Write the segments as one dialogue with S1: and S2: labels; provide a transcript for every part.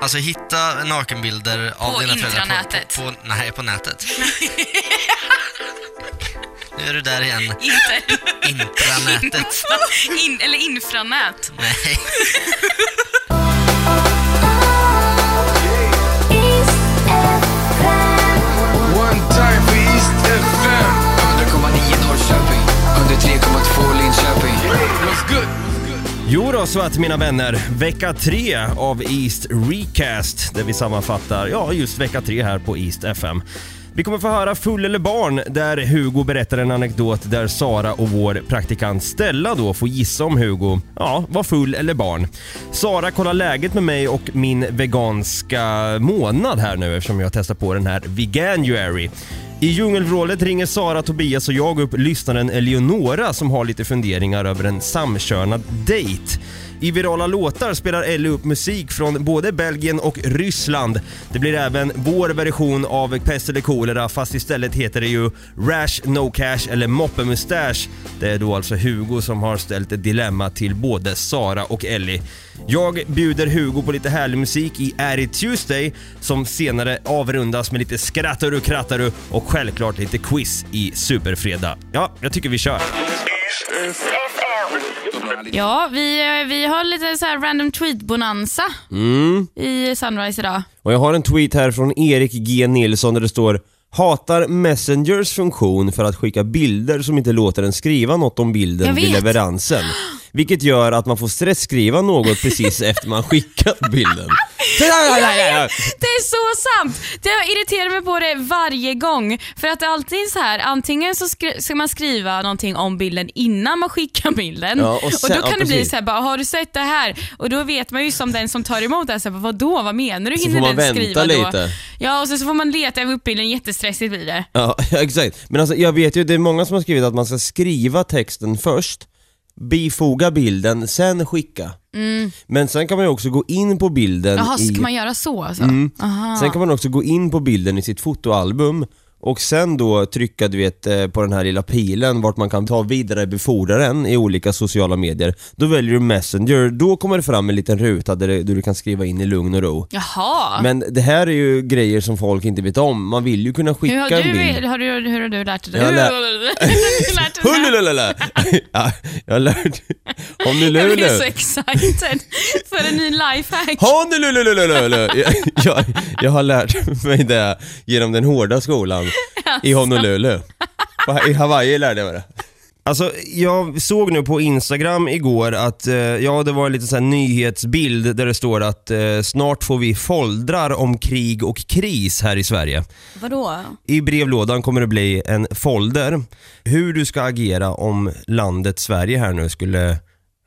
S1: Alltså hitta nakenbilder av
S2: På
S1: dina föräldrar
S2: intranätet.
S1: på, Nej, på nätet. nu är du där igen.
S2: Inte
S1: Intranätet.
S2: in, eller infranät.
S1: nej.
S3: One time for East FM
S4: 100,9 Norrköping, 103,2 Linköping.
S3: What's good?
S5: Jo då, så att mina vänner, vecka tre av East Recast där vi sammanfattar, ja just vecka tre här på East FM. Vi kommer få höra Full eller barn där Hugo berättar en anekdot där Sara och vår praktikant Stella då får gissa om Hugo, ja, var full eller barn. Sara kollar läget med mig och min veganska månad här nu eftersom jag testar på den här Veganuary. I djungelvrålet ringer Sara, Tobias och jag upp lyssnaren Eleonora som har lite funderingar över en samkönad dejt. I virala låtar spelar Ellie upp musik från både Belgien och Ryssland. Det blir även vår version av Pest eller kolera fast istället heter det ju Rash No Cash eller Moppe Mustasch. Det är då alltså Hugo som har ställt ett dilemma till både Sara och Ellie. Jag bjuder Hugo på lite härlig musik i Är It Tuesday som senare avrundas med lite skrattar och krattar du och självklart lite quiz i Superfredag. Ja, jag tycker vi kör.
S2: Ja, vi, eh, vi har lite så här random tweet-bonanza
S5: Mm.
S2: i Sunrise idag.
S5: Och jag har en tweet här från Erik G Nilsson där det står Hatar Messengers funktion för att skicka bilder som inte låter en skriva något om
S2: Jag
S5: bilden vid
S2: vet.
S5: leveransen. Vilket gör att man får stresskriva något precis efter man skickat bilden.
S2: Det är så sant! Det jag irriterar mig på det varje gång. För att det är alltid så här, antingen så skri- ska man skriva någonting om bilden innan man skickar bilden.
S5: Ja, och sen-
S2: då kan
S5: ja,
S2: det bli
S5: precis.
S2: så här, bara, har du sett det här? Och då vet man ju som den som tar emot det här, så här, bara, vadå, vad menar du?
S5: Så
S2: Hinner
S5: får man
S2: den
S5: vänta
S2: skriva då?
S5: lite.
S2: Ja, och sen så får man leta upp bilden, jättestressigt blir det.
S5: Ja, exakt. Men alltså, jag vet ju, det är många som har skrivit att man ska skriva texten först, bifoga bilden, sen skicka. Men sen kan man ju också gå in på bilden
S2: Mm. Jaha,
S5: i... Mm.
S2: ska man göra så alltså? Aha.
S5: Sen kan man också gå in på bilden i sitt fotoalbum och sen då trycka du vet eh, på den här lilla pilen vart man kan ta vidare befordraren i olika sociala medier. Då väljer du Messenger, då kommer det fram en liten ruta där du, där du kan skriva in i lugn och ro.
S2: Jaha.
S5: Men det här är ju grejer som folk inte vet om, man vill ju kunna
S2: hur,
S5: skicka
S2: har
S5: en bild.
S2: du, har du, hur har du lärt dig det?
S5: Jag har lä-
S2: lärt dig det?
S5: Hullululula! ja, jag har lärt
S2: Jag blir
S5: Honolulu!
S2: så excited för en ny lifehack.
S5: Honolululululu! Jag, jag, jag har lärt mig det genom den hårda skolan i Honolulu. Va- I Hawaii lärde jag mig det. Alltså, jag såg nu på Instagram igår att, eh, ja det var en liten sån här nyhetsbild där det står att eh, snart får vi foldrar om krig och kris här i Sverige.
S2: Vadå?
S5: I brevlådan kommer det bli en folder hur du ska agera om landet Sverige här nu skulle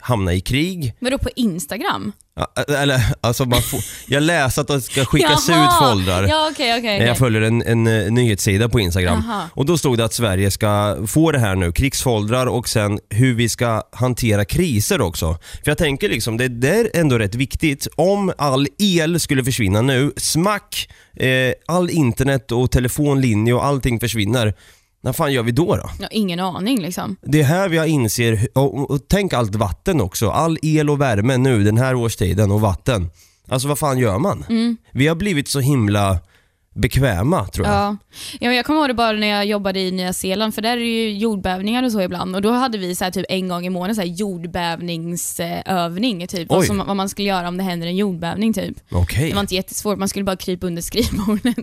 S5: hamna i krig.
S2: Vadå på Instagram?
S5: Ja, Eller alltså man får, jag läste att det ska skickas
S2: Jaha.
S5: ut foldrar.
S2: Ja, okej, okej.
S5: Jag
S2: okej.
S5: följer en, en eh, nyhetssida på Instagram
S2: Jaha.
S5: och då stod det att Sverige ska få det här nu, krigsfoldrar och sen hur vi ska hantera kriser också. För jag tänker liksom, det där är ändå rätt viktigt. Om all el skulle försvinna nu, smack, eh, all internet och telefonlinje och allting försvinner. Vad fan gör vi då då?
S2: Jag har ingen aning liksom.
S5: Det är här jag inser, hu- och, och, och tänk allt vatten också. All el och värme nu den här årstiden och vatten. Alltså vad fan gör man? Vi har blivit så himla bekväma tror jag.
S2: Ja. Ja, men jag kommer ihåg det bara när jag jobbade i Nya Zeeland, för där är det ju jordbävningar och så ibland. Och Då hade vi så här, typ en gång i månaden så här, jordbävningsövning, typ. Vad,
S5: Oj.
S2: som, vad man skulle göra om det händer en jordbävning. Typ.
S5: Okej,
S2: Det var inte jättesvårt, man skulle bara krypa under skrivbordet.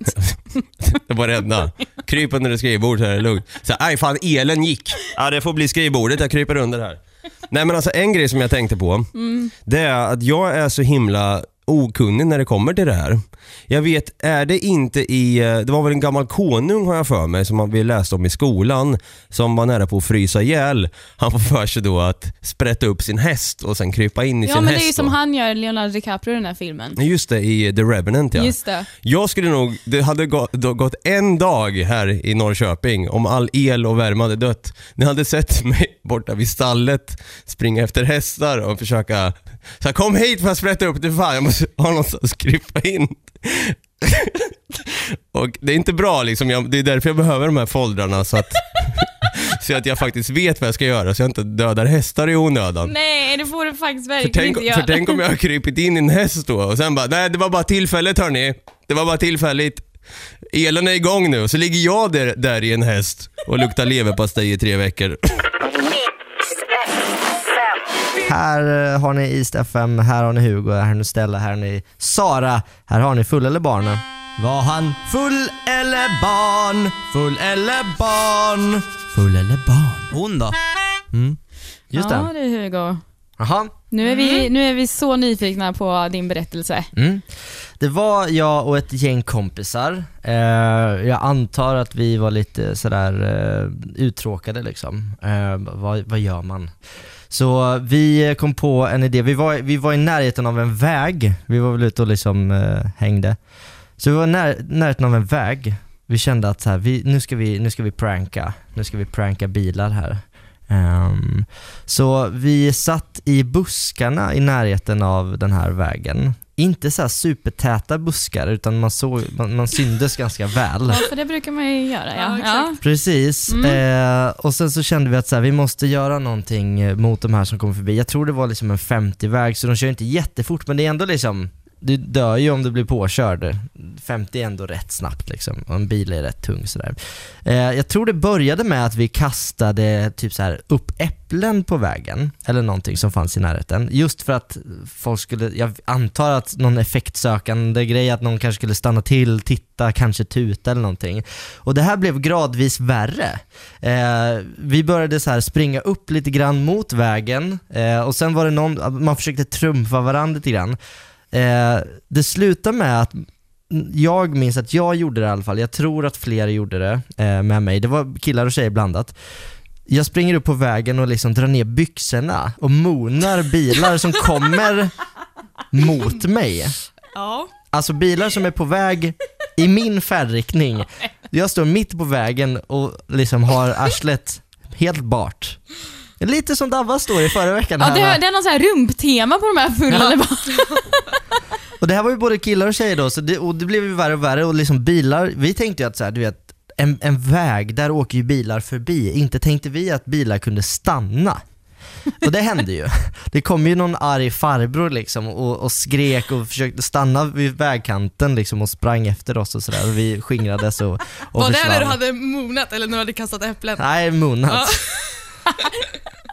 S5: det var det enda. Kryp under skrivbordet här, det är lugnt. Så, aj fan, elen gick. Ja, det får bli skrivbordet, jag kryper under här. Nej men alltså en grej som jag tänkte på, det är att jag är så himla okunnig när det kommer till det här. Jag vet, är det inte i, eh, det var väl en gammal konung har jag för mig som man- vi läste om i skolan som var nära på att frysa ihjäl. Han får för sig då att sprätta upp sin häst och sen krypa in i
S2: ja,
S5: sin
S2: men det
S5: häst.
S2: är ju som
S5: då.
S2: han gör, Leonardo DiCaprio, i den här filmen.
S5: Nej, Just det, i The Revenant ja.
S2: Just det.
S5: Jag skulle nog, det hade gå- då gått en dag här i Norrköping om all el och värme hade dött. Ni hade sett mig borta vid stallet springa efter hästar och försöka, så här, kom hit för att sprätta upp det fan jag måste ha någonstans att krypa in. och det är inte bra liksom, jag, det är därför jag behöver de här foldrarna så att så att jag faktiskt vet vad jag ska göra så jag inte dödar hästar i onödan.
S2: Nej, det får du faktiskt
S5: För
S2: verkligen
S5: tänk,
S2: inte göra.
S5: för tänk om jag har krypit in i en häst då och sen bara, nej det var bara tillfälligt hörni. Det var bara tillfälligt. Elen är igång nu och så ligger jag där, där i en häst och luktar leverpastej i tre veckor.
S1: Här eh, har ni East FM, här har ni Hugo, här har ni Stella, här har ni Sara, här har ni Full eller barn. Var han full eller barn? Full eller barn? Full eller barn? Mm.
S6: Hon då?
S1: Just
S2: ja,
S1: det.
S2: du Hugo.
S1: Jaha.
S2: Nu är, vi, nu är vi så nyfikna på din berättelse.
S1: Det var jag och ett gäng kompisar. Eh, jag antar att vi var lite sådär eh, uttråkade liksom. Eh, vad, vad gör man? Så vi kom på en idé. Vi var, vi var i närheten av en väg. Vi var väl ute och liksom eh, hängde. Så vi var i när, närheten av en väg. Vi kände att så här, vi, nu, ska vi, nu ska vi pranka. Nu ska vi pranka bilar här. Ehm, så vi satt i buskarna i närheten av den här vägen. Inte så här supertäta buskar utan man, såg, man, man syndes ganska väl.
S2: Ja, för det brukar man ju göra. Ja, ja,
S1: Precis, eh, och sen så kände vi att så här, vi måste göra någonting eh, mot de här som kommer förbi. Jag tror det var liksom en 50-väg så de kör inte jättefort men det är ändå liksom, du dör ju om du blir påkörd. 50 är ändå rätt snabbt liksom och en bil är rätt tung sådär. Eh, jag tror det började med att vi kastade typ så här upp äpplen på vägen eller någonting som fanns i närheten. Just för att folk skulle, jag antar att någon effektsökande grej att någon kanske skulle stanna till, titta, kanske tuta eller någonting. Och det här blev gradvis värre. Eh, vi började så här springa upp lite grann mot vägen eh, och sen var det någon, man försökte trumfa varandra lite grann. Eh, det slutade med att jag minns att jag gjorde det i alla fall, jag tror att fler gjorde det eh, med mig. Det var killar och tjejer blandat. Jag springer upp på vägen och liksom drar ner byxorna och monar bilar som kommer mot mig.
S2: ja.
S1: Alltså bilar som är på väg i min färdriktning. Jag står mitt på vägen och liksom har arslet helt bart. Lite som Davva står i förra veckan. här, va?
S2: det, det är någon sån här rumptema på de här fulla eller vad?
S1: Och det här var ju både killar och tjejer då, så det, och det blev ju värre och värre och liksom bilar, vi tänkte ju att så här, du vet, en, en väg, där åker ju bilar förbi. Inte tänkte vi att bilar kunde stanna. Och det hände ju. Det kom ju någon arg farbror liksom och, och skrek och försökte stanna vid vägkanten liksom och sprang efter oss och sådär. Och Vi skingrades och, och
S7: Var det när du
S1: försvann.
S7: hade monat eller när du hade kastat äpplen?
S1: Nej, munnat.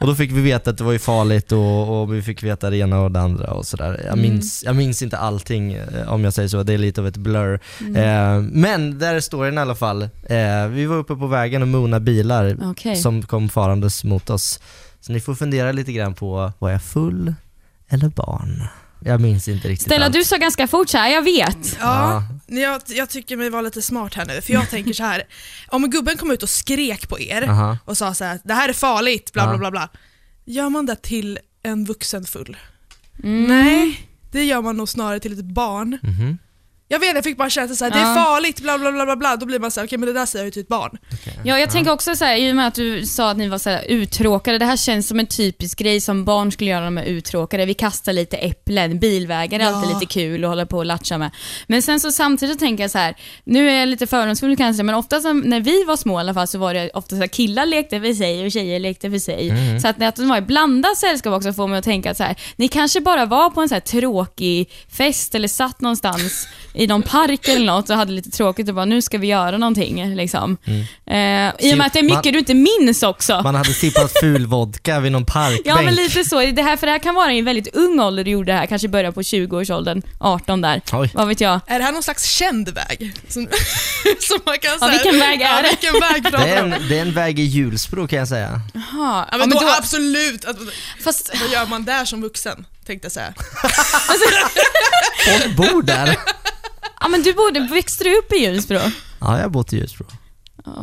S1: Och då fick vi veta att det var ju farligt och, och vi fick veta det ena och det andra och sådär.
S2: Mm.
S1: Jag minns, jag minns inte allting eh, om jag säger så, det är lite av ett blur.
S2: Mm.
S1: Eh, men där står den i alla fall. Eh, vi var uppe på vägen och mona bilar
S2: Okej.
S1: som kom farandes mot oss. Så ni får fundera lite grann på, var jag full eller barn? Jag minns inte riktigt
S2: Stella,
S1: allt.
S2: du sa ganska fort så här, jag vet.
S1: Ja.
S7: Ja, jag, jag tycker mig vara lite smart här nu, för jag tänker så här. om gubben kom ut och skrek på er
S1: Aha.
S7: och sa så här: det här är farligt, bla
S1: Ja.
S7: bla bla bla. Gör man det till en vuxen full? Nej, det gör man nog snarare till ett barn.
S1: Mhm.
S7: Jag vet, jag fick bara känslan såhär, det
S2: Ja.
S7: är farligt, bla bla bla bla bla. Då blir man såhär, okej men det där säger jag ju till ett barn.
S2: Ja, jag tänker också så här, i och med att du sa att ni var så här uttråkade, det här känns som en typisk grej som barn skulle göra när de är uttråkade. Vi kastar lite äpplen, bilvägar är alltid lite kul att hålla på och latcha med. Men sen så samtidigt tänker jag så här, nu är jag lite fördomsfull kanske, men ofta som, när vi var små i alla fall så var det ofta så här, killar lekte för sig och tjejer lekte för sig.
S1: Mm.
S2: Så att, att de var i blandat sällskap också får mig att tänka att så här, ni kanske bara var på en så här tråkig fest eller satt någonstans i någon park eller något och hade lite tråkigt och bara nu ska vi göra någonting. Liksom. Eh, I och med att det är mycket
S1: Mm. Man-
S2: du inte minns också.
S1: Man hade sippat ful vodka vid någon parkbänk.
S2: Ja men lite så, det här, för det här kan vara i en väldigt ung ålder du gjorde det här, kanske i början på 20-årsåldern, 18 där.
S1: Oj.
S2: Vad vet jag?
S7: Är det här någon slags känd väg? Som, som man kan
S2: Ja,
S7: så här-
S2: vilken väg är
S7: ja,
S2: det?
S7: Vilken väg pratar
S1: det,
S7: vi
S1: är
S7: om?
S1: en, det är en väg i Hjulsbro kan jag säga.
S2: Ja,
S7: Ja, men då, absolut, att,
S2: fast,
S7: vad gör man där som vuxen? Tänkte jag säga.
S1: Folk bor där.
S2: ja, men du borde, växte du upp i Ljusbro?
S1: Ja, jag har bott i Ljusbro.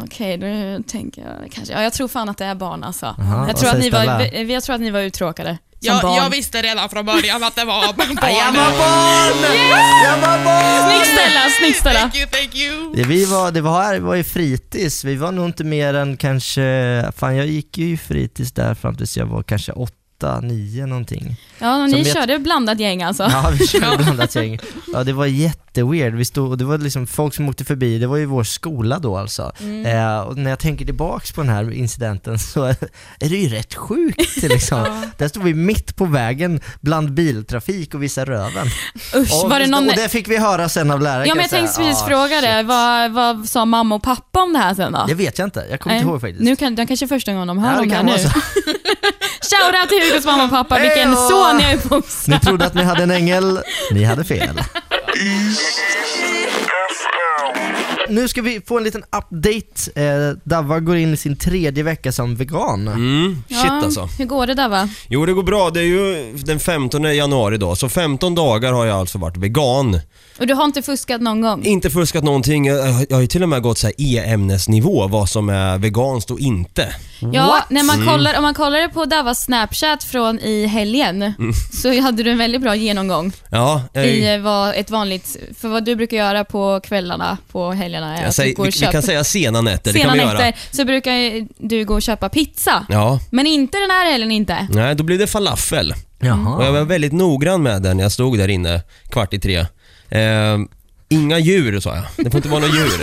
S2: Okej, då tänker jag kanske, ja, jag tror fan att det är barn alltså.
S1: vad
S2: jag, tror att
S1: säger
S2: ni var,
S1: Stella?
S2: vi- jag tror att ni var uttråkade som
S7: Jag,
S2: barn.
S7: jag visste redan från början att det var
S1: Jag
S7: barn.
S1: var barn! Jag var barn!
S2: Snyggt Stella, snyggt Stella.
S7: Thank you, thank you.
S1: Det vi var, det var, var ju fritids, vi var nog inte mer än kanske, fan jag gick ju i fritids där fram tills jag var kanske åtta åtta, nio någonting.
S2: Ja, och
S1: Som
S2: ni
S1: vet-
S2: körde blandat gäng alltså.
S1: Ja, vi körde blandat gäng. Ja, det var jätteweird. Vi stod, och det var liksom folk som åkte förbi, det var ju vår skola då alltså.
S2: Mm.
S1: Eh, och när jag tänker tillbaks på den här incidenten så är det ju rätt sjukt liksom. Där stod vi mitt på vägen bland biltrafik och visade röven.
S2: Usch,
S1: och,
S2: var det någon...
S1: och det fick vi höra sen av läraren
S2: Ja
S1: kan
S2: men jag
S1: säga.
S2: tänkte precis
S1: Ah,
S2: fråga
S1: shit.
S2: det. Vad, vad sa mamma och pappa om det här sen då?
S1: Det vet jag inte, jag kommer inte
S2: Nej.
S1: ihåg faktiskt.
S2: Nu kan, det kanske är första gången de
S1: Ja,
S2: hör
S1: det
S2: om det här
S1: kan
S2: nu.
S1: vara så.
S2: Shoutout till Hugos mamma och pappa, vilken
S1: Hejdå!
S2: son jag uppfostrade.
S1: Ni trodde att ni hade en ängel, ni hade fel. Nu ska vi få en liten update. Eh, Davva går in i sin tredje vecka som vegan.
S5: Mm, shit
S2: Ja,
S5: alltså.
S2: Hur går det där va?
S5: Jo det går bra, det är ju den 15 januari då, så 15 dagar har jag alltså varit vegan.
S2: Och du har inte fuskat någon gång?
S5: Inte fuskat någonting, jag, jag har ju till och med gått så här e-ämnesnivå, vad som är veganskt och inte.
S2: Ja,
S1: What?
S2: när
S5: Mm.
S2: man kollar, om man kollar på Davas snapchat från i helgen
S5: Mm.
S2: så hade du en väldigt bra genomgång
S5: Ja, jag,
S2: i eh, vad ett vanligt, för vad du brukar göra på kvällarna, på helgerna.
S5: jag
S2: är att du
S5: säger,
S2: går och
S5: vi, vi
S2: köper-
S5: kan säga sena nätter, det
S2: sena
S5: kan vi göra.
S2: nätter så brukar ju du gå och köpa pizza.
S5: Ja,
S2: Men inte den här helgen inte.
S5: nej då blir det falafel. Och jag
S1: Jaha.
S5: var väldigt noggrann med den jag stod där inne kvart i tre. Ehm, inga djur sa jag, det får inte vara några djur.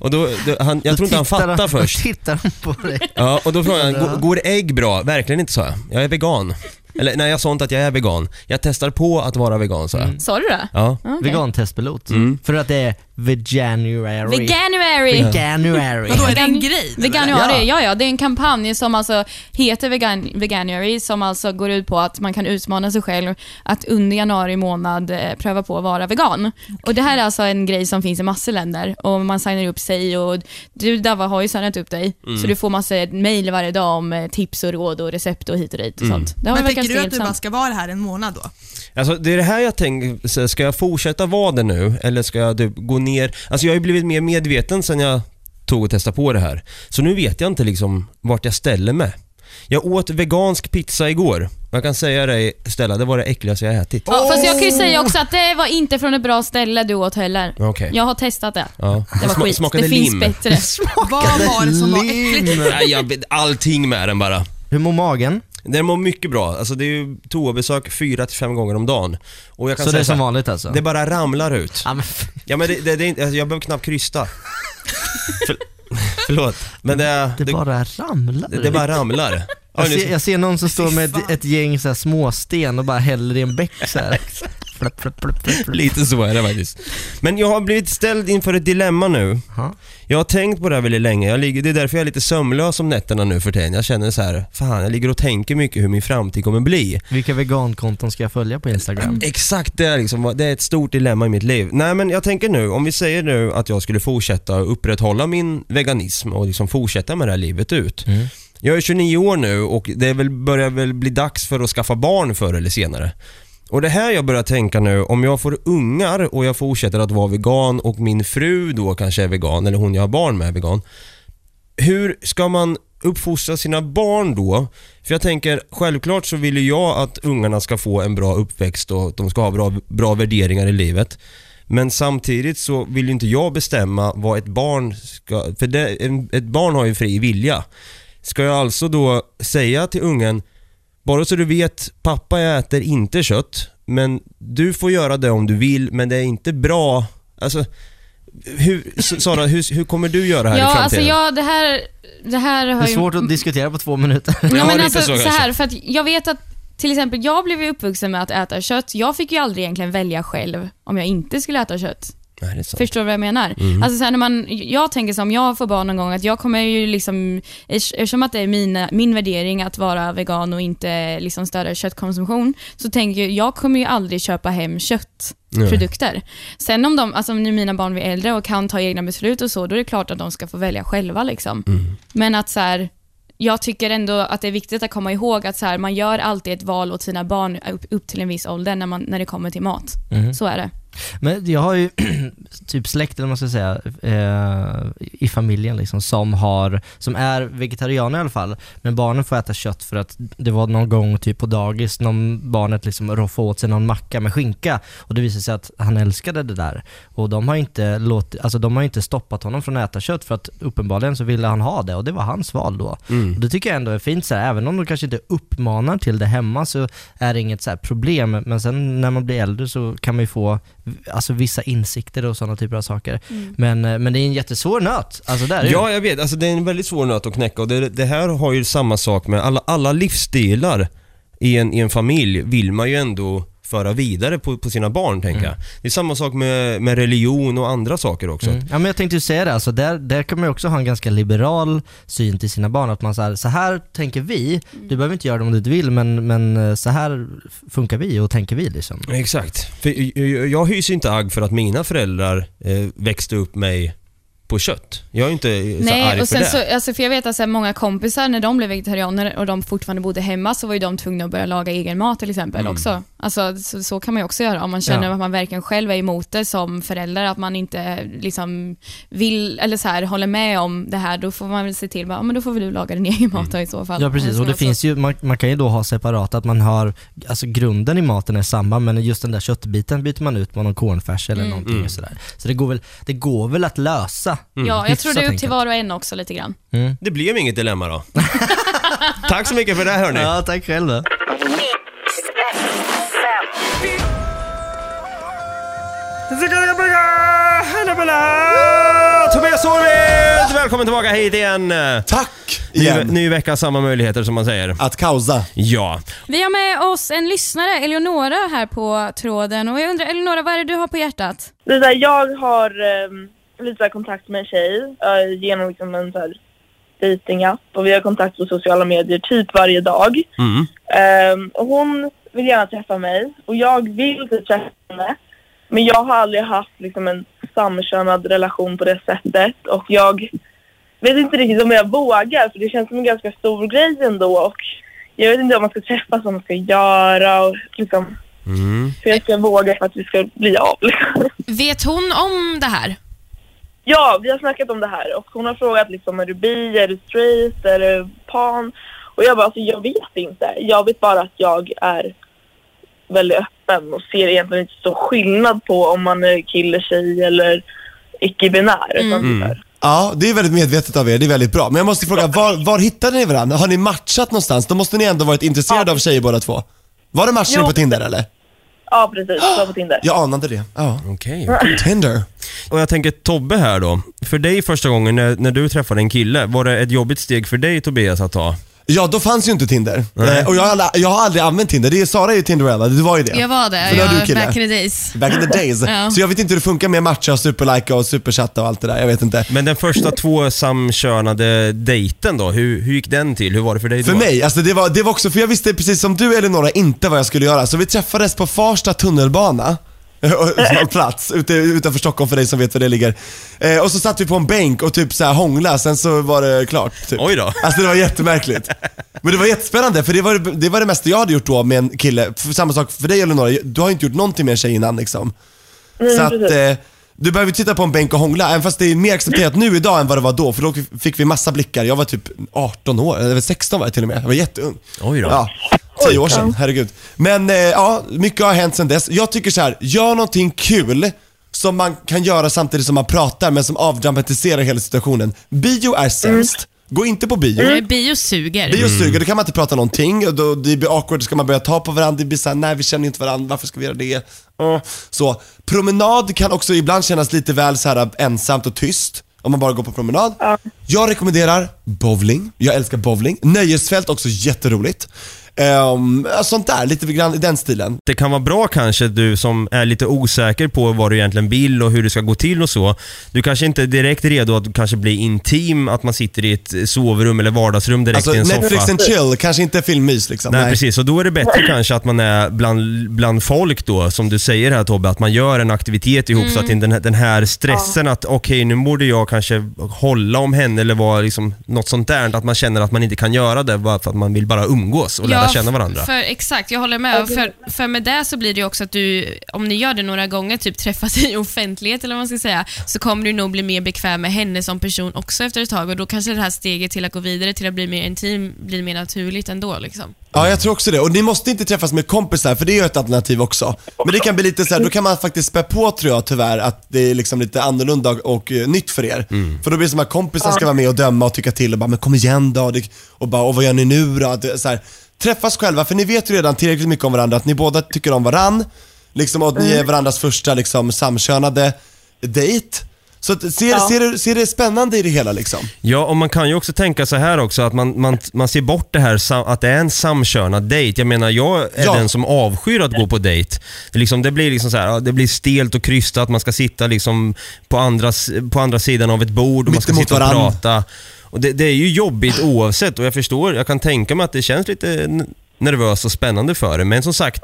S5: och då, då, han, jag tror inte han fattar först.
S1: Tittar han på dig?
S5: Ja, och då frågade han, "Går- går ägg bra? Verkligen inte sa jag. Jag är vegan. Eller nej, jag sa inte att jag är vegan. Jag testar på att vara vegan sa jag.
S8: Mm.
S2: Sa du det?
S5: Ja.
S2: Okej.
S1: Vegantestpilot.
S5: Mm.
S1: För att det är veganuary.
S2: Veganuary!
S1: Veganuary.
S7: Vadå, är det en grej? eller?
S2: Veganuari,
S1: Ja.
S2: ja. ja det är en kampanj som alltså heter Vegan, Veganuary som alltså går ut på att man kan utmana sig själv att under januari månad eh, pröva på att vara vegan. Och det här är alltså en grej som finns i massor länder och man signar upp sig och du Dava har ju signat upp dig så du får massa mejl varje dag om eh, tips och råd och recept och hit och dit och sånt. Det har
S7: Men
S2: verkat
S7: tänker du att du
S2: stillsamt.
S7: bara ska vara här en månad då?
S5: Alltså det är det här jag tänker, så här, ska jag fortsätta vara det nu eller ska jag typ gå ner? Alltså jag har ju blivit mer medveten sen jag tog och testade på det här. Så nu vet jag inte liksom vart jag ställer mig. Jag åt vegansk pizza igår. Jag kan säga dig Stella, det var det äckligaste jag ätit.
S2: Ja, fast jag kan ju säga också att det var inte från ett bra ställe du åt heller.
S5: Okej.
S2: Jag har testat det.
S5: Ja.
S2: Det var
S5: sma-
S2: skit.
S5: Smakade
S2: det
S5: lim.
S2: finns bättre.
S7: Vad var det som var
S1: Lim.
S7: äckligt?
S5: Nej, jag, allting med den bara.
S1: Hur mår magen?
S5: Den mår mycket bra. Alltså det är ju toabesök 4-5 gånger om dagen. Och jag kan
S1: Så det
S5: säga
S1: är som
S5: här,
S1: vanligt alltså?
S5: Det bara ramlar ut.
S1: Ja, men f-
S5: Ja men det, det, det är inte, alltså jag behöver knappt krysta. För, förlåt. Men det,
S1: det
S5: det, det,
S1: bara ramlar
S5: det bara ramlar. Ja,
S1: Jag
S5: nu-
S1: ser, jag ser någon som står med ett, ett gäng så här småsten och bara häller i en bäck så här. Flapp, flapp, flapp, flapp, flapp.
S5: Lite så är det faktiskt. Men jag har blivit ställd inför ett dilemma nu.
S1: Ja.
S5: Jag har tänkt på det här väldigt länge. Jag ligger, det är därför jag är lite sömnlös om nätterna nu för tiden. Jag känner så här, fan jag ligger och tänker mycket hur min framtid kommer bli.
S1: Vilka vegankonton ska jag följa på
S9: Mm.
S1: Instagram?
S5: Exakt det är, liksom, vad- det är ett stort dilemma i mitt liv. Nej men jag tänker nu, om vi säger nu att jag skulle fortsätta upprätthålla min veganism och liksom fortsätta med det här livet ut. Jag är 29 år nu och det är väl, börjar väl bli dags för att skaffa barn förr eller senare. Och det här jag börjar tänka nu, om jag får ungar och jag fortsätter att vara vegan och min fru då kanske är vegan, eller hon jag har barn med är vegan. Hur ska man uppfostra sina barn då? För jag tänker, självklart så vill ju jag att ungarna ska få en bra uppväxt och att de ska ha bra, bra värderingar i livet. Men samtidigt så vill ju inte jag bestämma vad ett barn ska... För det, en, ett barn har ju fri vilja. Ska jag alltså då säga till ungen, bara så du vet, pappa jag äter inte kött, men du får göra det om du vill, men det är inte bra. Alltså, hur, S- Sara, hur, hur kommer du göra här i
S2: Ja,
S5: framtiden?
S2: alltså jag, det här, det här
S1: Det
S2: har
S1: är
S2: ju...
S1: svårt att diskutera på två minuter.
S5: Ja,
S2: Ja, men
S5: lite
S2: alltså,
S5: så
S2: så,
S5: kanske.
S2: här, för att jag vet att till exempel jag blev ju uppvuxen med att äta kött. Jag fick ju aldrig egentligen välja själv om jag inte skulle äta kött.
S5: Nej, det är
S9: liksom.
S5: sant.
S2: Förstår du vad jag menar? Alltså så här, när man, jag tänker som om jag får barn någon gång, att jag kommer ju liksom, eftersom att det är mina, min värdering att vara vegan och inte liksom stödja köttkonsumtion, så tänker jag, jag kommer ju aldrig köpa hem köttprodukter. Sen om de, alltså om nu mina barn blir äldre och kan ta egna beslut och så, då är det klart att de ska få välja själva liksom. Men att så här, jag tycker ändå att det är viktigt att komma ihåg att så här, man gör alltid ett val åt sina barn upp, upp till en viss ålder när, man, när det kommer till mat. Så är det.
S1: Men jag har ju typ släkt, eller vad man ska säga, eh, i familjen liksom, som, har, som är vegetarianer i alla fall. Men barnen får äta kött för att det var någon gång typ på dagis, någon barnet liksom roffade åt sig någon macka med skinka och det visade sig att han älskade det där. Och de har inte, låtit, alltså, de har inte stoppat honom från att äta kött för att uppenbarligen så ville han ha det och det var hans val då. Och det tycker jag ändå är fint, så här, även om de kanske inte uppmanar till det hemma så är det inget så här problem. Men sen när man blir äldre så kan man ju få alltså, vissa insikter och sådana typer av saker. Men, eh, men det är en jättesvår nöt. Alltså, där är det.
S5: Ja, jag vet. Alltså, det är en väldigt svår nöt att knäcka och det, det här har ju samma sak med alla, alla livsstilar i en, i en familj vill man ju ändå föra vidare på, på sina barn, tänker jag. Det är samma sak med, med religion och andra saker också.
S1: Mm. Ja, men jag tänkte ju säga det, alltså där, där kan man ju också ha en ganska liberal syn till sina barn. Att man så här, så här tänker vi, du behöver inte göra det om du inte vill, men, men eh, så här funkar vi och tänker vi. Liksom.
S5: Exakt. För jag, jag hyser inte agg för att mina föräldrar eh, växte upp mig på kött. Jag är inte eh, så
S2: Nej,
S5: arg
S2: och
S5: för
S2: sen
S5: det.
S2: så, alltså, för jag vet att så här, många kompisar när de blev vegetarianer och de fortfarande bodde hemma så var ju de tvungna att börja laga egen mat till exempel också. Alltså, så, så kan man ju också göra om man känner
S1: Mm. Ja.
S2: att man verkligen själv är emot det som förälder, att man inte liksom vill, eller så här, håller med om det här, då får man väl se till, bara, ja, men då får väl du laga din egen mat då, i så fall.
S1: Mm.
S2: Alltså,
S1: Ja precis, och det finns ju, man, man kan ju då ha separat, att man har, alltså grunden i maten är samma men just den där köttbiten byter man ut med någon cornfärs eller någonting och sådär. Så det går väl, det går väl att lösa.
S8: Mm.
S2: Ja, jag tror det är upp
S1: Hyfsat
S2: till var och en också lite grann.
S5: Det blev inget dilemma då. Tack så mycket för det här hörni.
S1: Ja, tack själv då.
S5: Tobias Sorved! Välkommen tillbaka hit igen.
S9: Tack!
S5: Ny,
S9: Igen.
S5: ny vecka, samma möjligheter som man säger.
S9: Att kausa.
S5: Ja.
S2: Vi har med oss en lyssnare, Eleonora, här på tråden. Och jag undrar, Eleonora, vad är det du har på hjärtat?
S10: Lisa, jag har ehm, lite så här kontakt med en tjej eh, genom liksom en så här dejtingapp och vi har kontakt på sociala medier typ varje dag.
S5: Mm.
S10: Ehm, och hon vill gärna träffa mig och jag vill typ träffa henne men jag har aldrig haft liksom en samkönad relation på det sättet och jag vet inte riktigt om jag vågar för det känns som en ganska stor grej ändå och jag vet inte om man ska träffas, vad man ska göra och liksom
S5: Mm.
S10: hur jag ska våga för att vi ska bli av liksom.
S11: Vet hon om det här?
S10: Ja, vi har snackat om det här och hon har frågat liksom är du bi, är du straight, är du pan? Och jag bara alltså jag vet inte. Jag vet bara att jag är väldigt öppen och ser egentligen inte så skillnad på om man är kille, tjej eller icke-binär. Utan
S5: Mm.
S10: sådär.
S9: Ja, det är väldigt medvetet av er. Det är väldigt bra. Men jag måste fråga, var, var hittade ni varandra? Har ni matchat någonstans? Då måste ni ändå varit intresserade av tjejer båda två. Var det matchning
S10: Jo.
S9: på Tinder eller?
S10: Ja, precis. Så på Tinder.
S9: Jag anade det. Ja.
S5: Okej.
S9: Tinder.
S5: Och jag tänker Tobbe här då. För dig första gången när, när du träffade en kille, var det ett jobbigt steg för dig Tobias att ta?
S9: Ja, då fanns ju inte Tinder.
S5: Nej.
S9: Eh, Och jag har, aldrig, jag har aldrig använt Tinder. Det är, Sara är ju Tinderella, du var ju det.
S11: Jag var det.
S9: För då är du
S11: Jag,
S9: kille.
S11: back in the days.
S9: Back in the days.
S11: Ja.
S9: Så jag vet inte hur det funkar med matcha och superlika och superchatta och allt det där. Jag vet inte.
S5: Men den första två samkönade dejten då, hur, hur gick den till? Hur var det för dig då?
S9: För mig, alltså det var, det var också, för jag visste precis som du Eleonora inte vad jag skulle göra. Så vi träffades på Farsta tunnelbana. Och plats ute, utanför Stockholm för dig som vet var det ligger. Eh, och så satt vi på en bänk och typ så här hånglade, sen så var det klart. Typ.
S5: Oj då.
S9: Alltså det var jättemärkligt. Men det var jättespännande för det var det, var det mesta jag hade gjort då med en kille. F- Samma sak för dig Eleonora, du har ju inte gjort någonting med en tjej innan liksom. Så att,
S10: precis.
S9: eh, du behöver titta på en bänk och hångla, även fast det är mer accepterat nu idag än vad det var då, för då fick vi massa blickar. Jag var typ 18 år, eller 16 var jag till och med. Jag var jätteung.
S5: Oj då.
S9: Ja, 10 år sedan, herregud. Men eh, ja, mycket har hänt sedan dess. Jag tycker så här, gör någonting kul som man kan göra samtidigt som man pratar, men som avdramatiserar hela situationen. Bio är sämst.
S5: Mm.
S9: Gå inte på bio.
S11: Nej, Bio suger.
S9: Bio suger, då kan man inte prata någonting och då, det blir awkward, ska man börja ta på varandra, det blir såhär, nej vi känner inte varandra, varför ska vi göra det? Mm. Så, promenad kan också ibland kännas lite väl så här äh, ensamt och tyst, om man bara går på promenad. Jag rekommenderar bowling, jag älskar bowling. Nöjesfält, också jätteroligt. Um, sånt där, lite grann i den stilen.
S5: det kan vara bra kanske du som är lite osäker på vad du egentligen vill och hur det ska gå till och så. Du kanske inte är direkt redo att kanske bli intim, att man sitter i ett sovrum eller vardagsrum direkt
S9: Alltså
S5: i en soffa.
S9: Netflix and chill, kanske inte filmmys liksom.
S5: Nej, precis. Och då är det bättre kanske att man är bland, bland folk då, som du säger här Tobbe, att man gör en aktivitet ihop så att inte den här, den här stressen att okej nu borde jag kanske hålla om henne eller vara liksom något sånt där, att man känner att man inte kan göra det bara för att man vill bara umgås och lära lära känna varandra.
S2: För, exakt, jag håller med.
S10: Ja, det-
S2: För, för med det så blir det ju också att du, om ni gör det några gånger, typ träffas i offentlighet eller vad man ska säga, så kommer du nog bli mer bekväm med henne som person också efter ett tag och då kanske det här steget till att gå vidare till att bli mer intim blir mer naturligt ändå. Liksom.
S9: Ja, jag tror också det. Och ni måste inte träffas med kompisar, för det är ju ett alternativ också. Men det kan bli lite så här, då kan man faktiskt spä på tror jag tyvärr, att det är liksom lite annorlunda och eh, nytt för er. För då blir det som att kompisar ska vara med och döma och tycka till och bara, men kom igen då. Och, det, och bara, och vad gör ni nu då? Att det är Så här, träffas själva, för ni vet ju redan tillräckligt mycket om varandra, att ni båda tycker om varann. Liksom, och att ni är varandras första liksom, samkönade dejt. Så att, ser,
S10: Ja.
S9: ser, det- ser det spännande i det hela liksom?
S5: Ja, och man kan ju också tänka så här också att man, man, man ser bort det här sa- att det är en samkönad dejt. Jag menar, jag är
S9: Ja.
S5: den som avskyr att gå på dejt. Det, liksom, det blir liksom så här, ja, det blir stelt och krystat, man ska sitta liksom på andra, s- på andra sidan av ett bord och man ska
S9: Mittemot
S5: sitta och
S9: varann.
S5: prata. Och det, det är ju jobbigt oavsett och jag förstår, jag kan tänka mig att det känns lite n- nervöst och spännande för det. Men som sagt,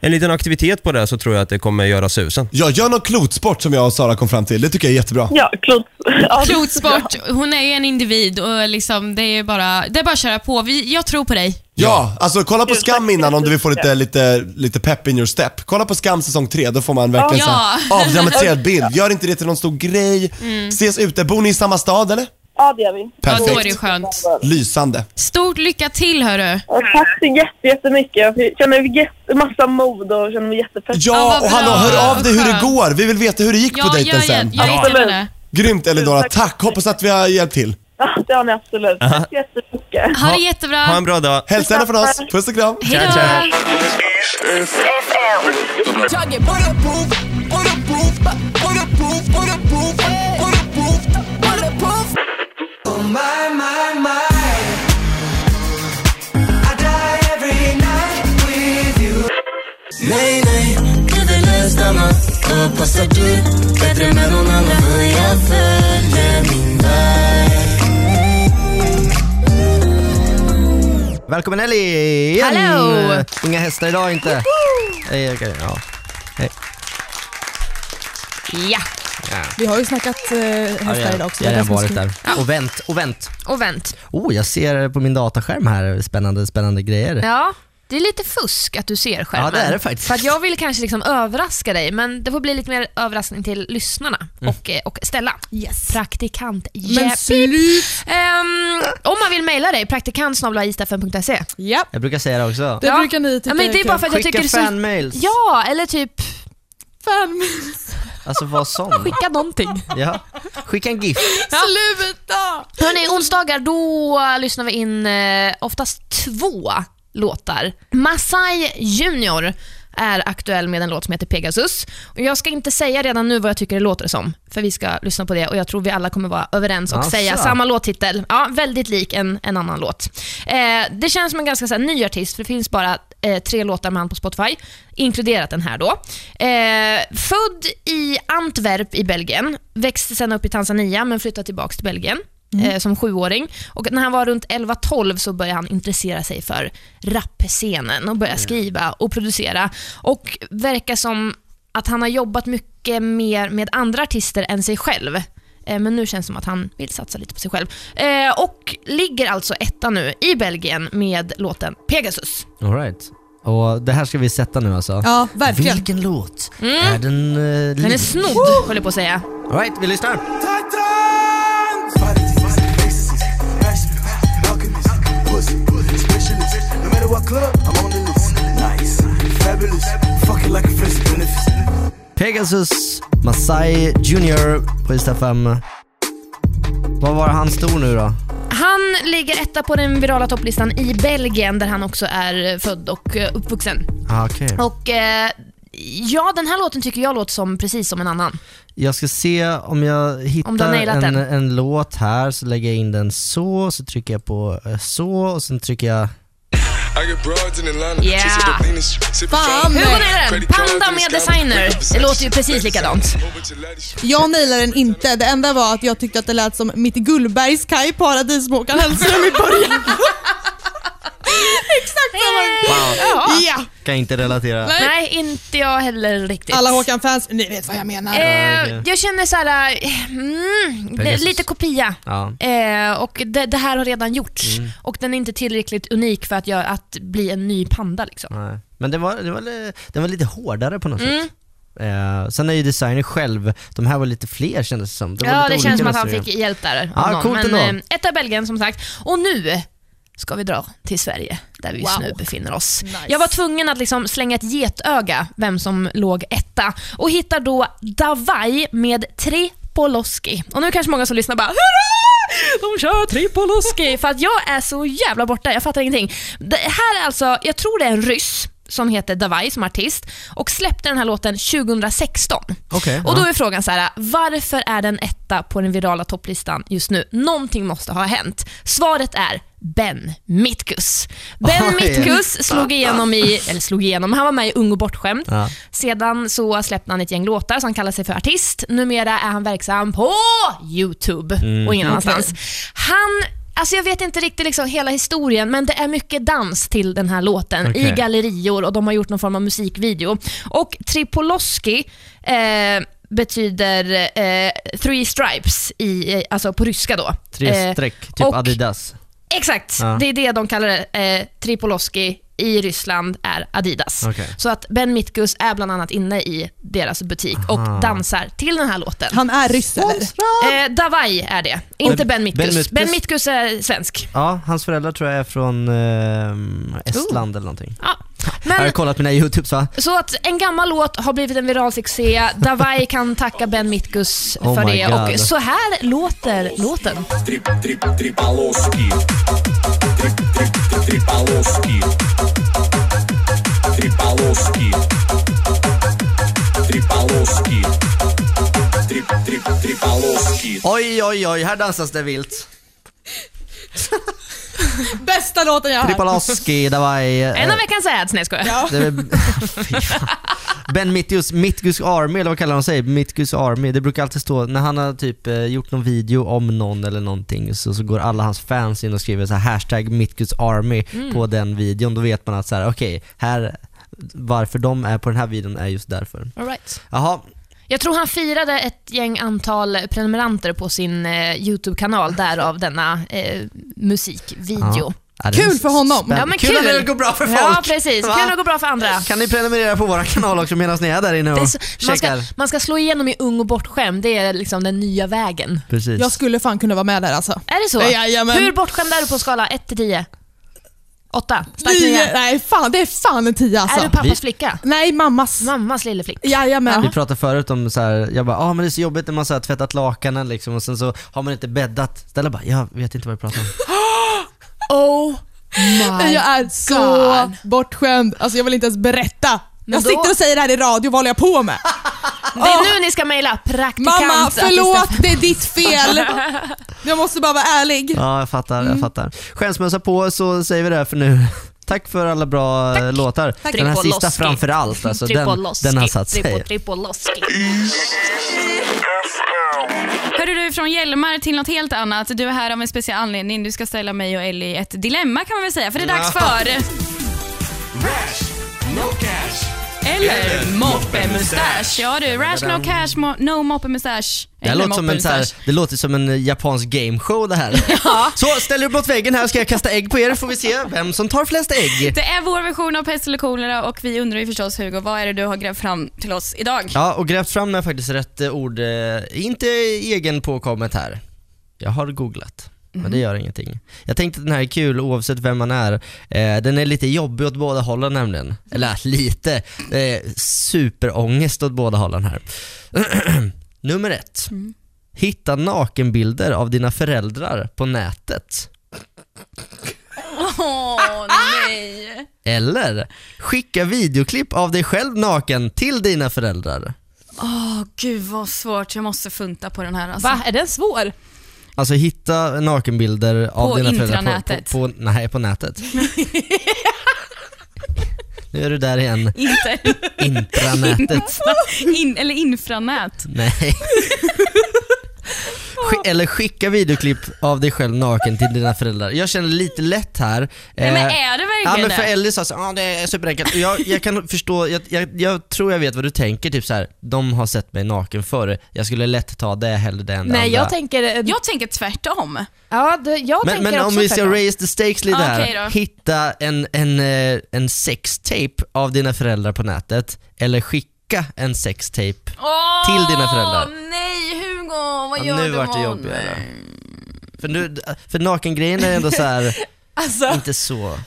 S5: en liten aktivitet på det här så tror jag att det kommer göra susen.
S9: Ja, gör någon klotsport som jag och Sara kom fram till. Det tycker jag är jättebra.
S10: Ja, klot. Ja, det-
S2: Klotsport, hon är ju en individ och liksom, det är bara, det är bara att köra på. Vi, jag tror på dig.
S9: Ja, alltså kolla på
S10: Tusen
S9: Skam
S10: tack.
S9: innan om du vill få lite, lite, lite pep in your step. Kolla på Skam säsong 3, då får man verkligen
S2: Ja. Mm.
S9: så här avdramatiserad bild. Gör inte det till någon stor grej. Ses ute. Bor ni i samma stad eller?
S10: Ja, det gör vi.
S2: Ja, då är det
S9: Perfekt.
S2: ju skönt.
S9: Lysande.
S2: Stort lycka till hörru.
S10: Och tack så jätte- jättemycket. Jag känner jätte, massa mod och känner mig jättepeppad.
S2: Ja,
S9: Ja,
S2: vad
S9: och
S2: bra.
S9: hallå, hör av dig hur det
S2: Skönt.
S9: går. Vi vill veta hur det gick på
S2: Ja,
S9: dejten
S2: jag,
S9: sen.
S2: jag, jag är jättegärna det.
S9: Grymt Elinora, tack. Hoppas att vi har hjälpt till.
S10: Ja, det har ni absolut. Tack så jättemycket.
S2: Ha det
S5: Ha-
S2: jättebra.
S5: Ha en bra dag.
S9: Hälsa henne från oss. Puss och kram.
S2: Hej då.
S4: Nej, nej, jag vill ej stanna Och passar du bättre med någon annan För jag följer min väg
S1: Välkommen Ellie! igen!
S2: Hallå!
S1: Inga hästar idag inte. Hej, okej, ja.
S2: Ja,
S7: Vi har ju snackat eh,
S1: Ja,
S7: hästar
S1: jag,
S7: idag också. Det är
S1: jag har redan varit
S7: ganska
S1: där. Och vänt, och vänt.
S8: Och vänt.
S1: Oh, jag ser på min dataskärm här spännande, spännande grejer.
S8: Ja, det är lite fusk att du ser skärmen.
S1: Ja, det är det faktiskt.
S8: För att jag vill kanske liksom överraska dig, men det får bli lite mer överraskning till lyssnarna
S1: Mm.
S8: och, eh, och Stella.
S7: Yes.
S8: Praktikant
S7: Men
S8: Jeppip. Ehm, Om man vill mejla dig, praktikantsnabelaistafem.se.
S7: Ja,
S1: Jag brukar säga det också.
S7: det
S8: Ja.
S7: brukar ni tycka
S8: Ja, men det är bara för att jag
S1: Skicka
S8: tycker det är så...
S1: fanmails.
S8: Ja, eller typ
S7: Fan,
S1: Alltså vad sån.
S8: skicka någonting.
S1: Ja. Skicka en GIF.
S7: sluta!
S8: Hörrni, onsdagar då lyssnar vi in eh, oftast två låtar. Masai Junior är aktuell med en låt som heter Pegasus. Och jag ska inte säga redan nu vad jag tycker det låter som, för vi ska lyssna på det och jag tror vi alla kommer vara överens och
S1: Asså.
S8: säga samma låttitel. Ja, väldigt lik en, en annan låt. Eh, det känns som en ganska så här, ny artist, för det finns bara eh, tre låtar med han på Spotify, inkluderat den här då. Eh, född i Antwerp i Belgien, växte sen upp i Tanzania men flyttade tillbaka till Belgien eh, som sjuåring. Och när han var runt 11-12 så började han intressera sig för rappscenen och började skriva och producera. Och verkar som att han har jobbat mycket mer med andra artister än sig själv. Eh, Men nu känns det som att han vill satsa lite på sig själv. Eh, och ligger alltså etta nu i Belgien med låten Pegasus.
S1: Alright. Och det här ska vi sätta nu alltså.
S7: Ja, verkligen.
S1: Vilken låt? Är den uh,
S8: Mm. Den är snodd, höll jag på att säga.
S1: Alright, vi lyssnar. Pegasus, Masai Junior på Ystad 5. Vad var han stor nu då?
S8: Han ligger etta på den virala topplistan i Belgien där han också är född och eh, uppvuxen.
S1: Ah, okej.
S8: Och eh, ja, den här låten tycker jag låter som precis som en annan.
S1: Jag ska se om jag hittar
S8: Om du har nailat
S1: en,
S8: den.
S1: en låt här, så lägger jag in den så, så trycker jag på eh, så och sen trycker jag...
S7: Fan!
S8: Hur går nära den? Panda med designer. Det låter ju precis likadant.
S7: Jag nailade den inte. Det enda var att jag tyckte att det lät som Mitt Gullbergs kaj, Paradismåkaren Hellström i början.
S8: Exakt samma.
S12: Wow.
S8: Ja.
S1: Kan inte relatera.
S8: Nej. inte jag heller riktigt.
S12: Alla Håkan-fans, ni vet vad jag menar.
S8: Eh, jag känner så här, eh, mm, det är
S1: Pegasus.
S8: lite kopia.
S1: Ja.
S8: Eh, och det, det här har redan gjorts
S1: Mm.
S8: och den är inte tillräckligt unik för att, göra, att bli en ny panda. Liksom.
S1: Nej. Men den var, den, var, li- den var lite hårdare på något
S8: Mm.
S1: sätt. Eh, sen är ju designern själv, de här var lite fler kändes det som. De var
S8: Ja,
S1: lite
S8: det
S1: olika
S8: känns som att han
S1: restauranger.
S8: fick hjälp där. av
S1: Ja,
S8: någon.
S1: coolt
S8: Men,
S1: ändå.
S8: eh, ett av Belgien som sagt. Och nu ska vi dra till Sverige där vi just
S12: Wow.
S8: nu befinner oss. Jag var tvungen att liksom slänga ett getöga vem som låg etta och hittar då Davai med Tripoloski. Och nu kanske många som lyssnar bara Hurra! De kör Tripoloski för att jag är så jävla borta, jag fattar ingenting. Det här är alltså, jag tror det är en ryss som heter Davai som artist och släppte den här låten 2016.
S1: Okej.
S8: Och då
S1: ja.
S8: är frågan så här, varför är den etta på den virala topplistan just nu? Någonting måste ha hänt. Svaret är Ben Mitkus. Ben
S12: Oj.
S8: Mitkus slog igenom i, eller slog igenom, han var med i Ung och bortskämd.
S12: Ja.
S8: Sedan så släppte han ett gäng låtar så han kallar sig för artist. Numera är han verksam på YouTube
S12: Mm.
S8: och ingen
S12: Okej.
S8: annanstans. Han, alltså jag vet inte riktigt liksom hela historien, men det är mycket dans till den här låten i
S12: Okej.
S8: gallerior och de har gjort någon form av musikvideo. Och Tripoloski eh, betyder eh, three stripes, i, eh, alltså på ryska då.
S1: Tre
S8: Eh,
S1: streck, typ
S8: och-
S1: Adidas.
S8: Exakt,
S1: Ja.
S8: det är det de kallar det. Eh, Tripoloski i Ryssland är Adidas.
S1: Okej.
S8: Så att Ben Mitkus är bland annat inne i deras butik
S1: Aha.
S8: och dansar till den här låten.
S12: Han är ryss eller?
S8: Eh, Davai är det, inte
S1: Och-
S8: Ben
S1: Ben
S8: Mitkus.
S1: Mitkus-
S8: Ben Mitkus är svensk.
S1: Ja, hans föräldrar tror jag är från ehm, Estland eller någonting.
S8: Ja.
S1: Jag har
S8: Oh. Men,
S1: kollat mina YouTubes va?
S8: så att en gammal låt har blivit en viral succé. Davai kan tacka Ben Mitkus
S1: Oh
S8: för
S1: my
S8: det.
S1: God.
S8: Och så här låter låten.
S4: Три, три, три полоски. Три, три, три, три полоски. Три полоски. Три полоски. Три, три, три полоски.
S1: Oj, oj, oj, här dansas det vilt.
S12: Bästa låten jag har
S1: Tripaloski, Davai. eh,
S8: En av veckans ads, nej jag skojar.
S1: det är väl- Fy fan. Ben Mitkus, Mitkus Army eller vad kallar de sig? Mitkus Army, det brukar alltid stå, när han har typ eh, gjort någon video om någon eller någonting så, så går alla hans fans in och skriver så här, hashtag Mitkus Army
S12: Mm.
S1: på den videon. Då vet man att så här, okej, här, varför de är på den här videon är just därför.
S8: All right.
S1: Jaha,
S8: Jag tror han firade ett gäng antal prenumeranter på sin eh, YouTube-kanal, därav denna eh, musikvideo.
S1: Ja, det är Kul för honom. spännande.
S8: Ja, men
S1: Kul
S8: kul.
S1: när det går bra för
S8: Ja,
S1: folk.
S8: precis.
S1: Va?
S8: Kul när det går bra för andra.
S1: kan ni prenumerera på våra kanal också medan ni är där inne
S8: Det är
S1: och
S8: så- man, ska,
S1: checkar?
S8: man ska slå igenom i ung och bortskämd, det är liksom den nya vägen.
S1: Precis.
S12: Jag skulle fan kunna vara med där alltså.
S8: Är det så?
S12: Jajamän.
S8: Hur bortskämd är du på skala 1-10? 8? Stark
S12: Nio-
S8: 9?
S12: Nej, fan, det är fan en tia alltså.
S8: Är du pappas
S1: Vi-
S8: flicka?
S12: Nej, mammas.
S8: Mammas lille flicka.
S12: Jajamän.
S1: Vi pratade förut om så här, jag bara ah, men det är så jobbigt när man så här, tvättat lakanen liksom och sen så har man inte bäddat. Stella bara, jag vet inte vad vi pratar om.
S12: Oh
S8: my
S12: Jag är så bortskämd. Alltså jag vill inte ens berätta.
S8: Men
S12: jag
S8: då-
S12: sitter och säger det här i radio, vad håller jag på med?
S8: Det är nu ni ska mejla praktikant.
S12: Mamma, förlåt, det är ditt fel. Jag måste bara vara ärlig.
S1: Ja, jag fattar,
S8: Mm.
S1: jag fattar. Skämsmössa på så säger vi det här för nu. Tack för alla bra eh, låtar.
S8: Tack.
S1: Den här sista
S8: Tripoloski.
S1: framför allt, alltså, den,
S8: Tripoloski.
S1: den har satt sig.
S8: Tripoloski.
S2: Hörru du, från Hjälmar till något helt annat. Du är här av en speciell anledning. Du ska ställa mig och Ellie ett dilemma kan man väl säga, för det är dags
S12: Ja.
S2: för...
S4: No cash.
S2: Eller moppemustasch. Ja du, Rash No Cash, mo- No Moppemustasch.
S1: Det, här
S2: Eller
S1: låter som en, så här,
S2: moppemustasch.
S1: det låter som en eh, japansk gameshow det här. Så, ställ er upp mot väggen här ska jag kasta ägg på er får vi se vem som tar flest ägg.
S2: Det är vår version av Pest eller kolera och vi undrar ju förstås Hugo, vad är det du har grävt fram till oss idag?
S1: Ja, och grävt fram är faktiskt rätt eh, ord. eh, Inte egen påkommet här. Jag har googlat. Men det gör ingenting. Jag tänkte att den här är kul oavsett vem man är. Eh, den är lite jobbig åt båda hållen nämligen. Eller äh, lite. Eh, superångest åt båda hållen här. Nummer ett. Hitta nakenbilder av dina föräldrar på nätet.
S2: Åh nej.
S1: Eller skicka videoklipp av dig själv naken till dina föräldrar.
S2: Åh gud vad svårt, jag måste funta på den här alltså. Va,
S8: är den svår?
S1: Alltså hitta nakenbilder av
S2: På
S1: dina föräldrar
S2: intranätet.
S1: på, på, nej, på nätet. nu är du där igen.
S2: Inte.
S1: Intranätet.
S2: In, eller infranät.
S1: Nej. sk- eller skicka videoklipp av dig själv naken till dina föräldrar. Jag känner lite lätt här.
S2: Nej, men
S1: Eh,
S2: är det verkligen
S1: Ja men för
S2: det?
S1: Ellie sa så, ja det är superenkelt. Och Jag, jag kan förstå, jag, jag, jag tror jag vet vad du tänker, typ så här. de har sett mig naken förr, jag skulle lätt ta det hellre det än det andra.
S8: tänker, eh,
S2: jag tänker tvärtom.
S8: Ja, det, jag
S1: men men om vi ska raise the stakes
S8: Ah,
S1: lite
S2: Ja, okej
S1: här.
S2: då.
S1: Hitta en, en, eh, en sextape av dina föräldrar på nätet, eller skicka en sextape
S2: Åh,
S1: till dina föräldrar.
S2: nej Hugo, vad
S1: Ja,
S2: gör
S1: nu
S2: du
S1: vart det
S2: med
S1: jobbigare. För, nu, för nakengrejen är ändå så här
S2: Alltså.
S1: inte så...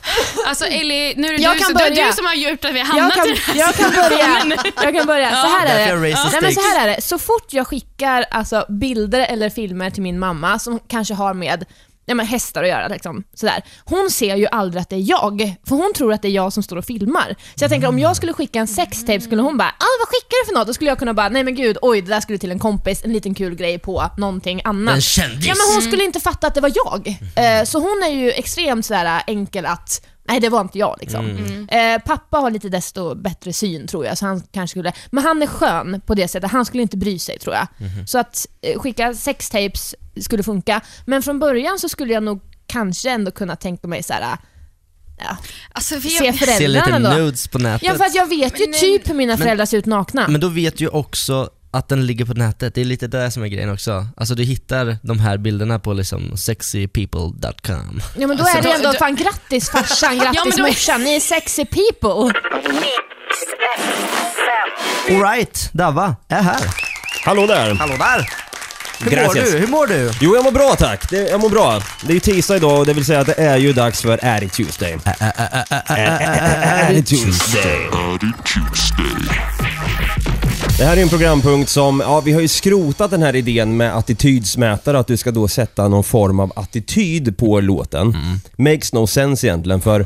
S11: Alltså Ellie, nu är det,
S8: Jag
S11: du,
S8: kan
S11: som, det är
S8: börja.
S11: du som har gjort att vi har
S8: jag
S11: hamnat
S8: kan,
S11: i den här
S8: jag kan börja.
S11: situationen.
S8: Jag kan börja. Så här,
S11: Ja. Därför
S8: är det.
S11: jag raised the
S8: Nej, men så
S11: stakes.
S8: här är det. Så fort jag skickar alltså, bilder eller filmer till min mamma som kanske har med Ja, men hästar att göra. Liksom, sådär. Hon ser ju aldrig att det är jag, för hon tror att det är jag som står och filmar. Så jag tänker om jag skulle skicka en sextape skulle hon bara ah, “Vad skickar du för något?” Då skulle jag kunna bara “Nej men gud, oj det där skulle till en kompis, en liten kul grej på någonting annat”.
S1: En kändis.
S8: Ja, men hon
S1: Mm.
S8: skulle inte fatta att det var jag. Eh, Så hon är ju extremt sådär enkel att Nej det var inte jag liksom.
S11: Mm.
S8: Eh, pappa har lite desto bättre syn tror jag, så han kanske skulle... Men han är skön på det sättet, han skulle inte bry sig tror jag.
S11: Mhm.
S8: Så att eh, skicka sextapes skulle funka, men från början så skulle jag nog kanske ändå kunna tänka mig såhär... Ja,
S11: för
S8: se
S11: jag-
S8: föräldrarna
S1: Se
S8: då.
S1: lite nudes på nätet.
S8: Ja för att jag vet ju
S11: Alltså, Men- eh,
S8: typ hur mina
S1: Men-
S8: föräldrar ser ut nakna.
S1: Men då vet du ju också att den ligger på nätet, det är lite det som är grejen också. Alltså du hittar de här bilderna på liksom sexypeople.com.
S8: Ja men då
S1: Alltså,
S8: är det ändå fan grattis farsan, grattis
S11: men då-
S8: morsan, ni är sexy people.
S1: Alright, Dava är här.
S5: Hallå där!
S1: Hallå där! Hur mår
S5: Gracias.
S1: du? Hur mår du?
S5: Jo, jag mår bra tack. Det, jag mår bra. Det är ju tisdag idag och det vill säga att det är ju dags för Är det Tuesday? Är det Tuesday? Det här är en programpunkt som, ja vi har ju skrotat den här idén med attitydsmätare, att du ska då sätta någon form av attityd på låten. Makes no sense egentligen för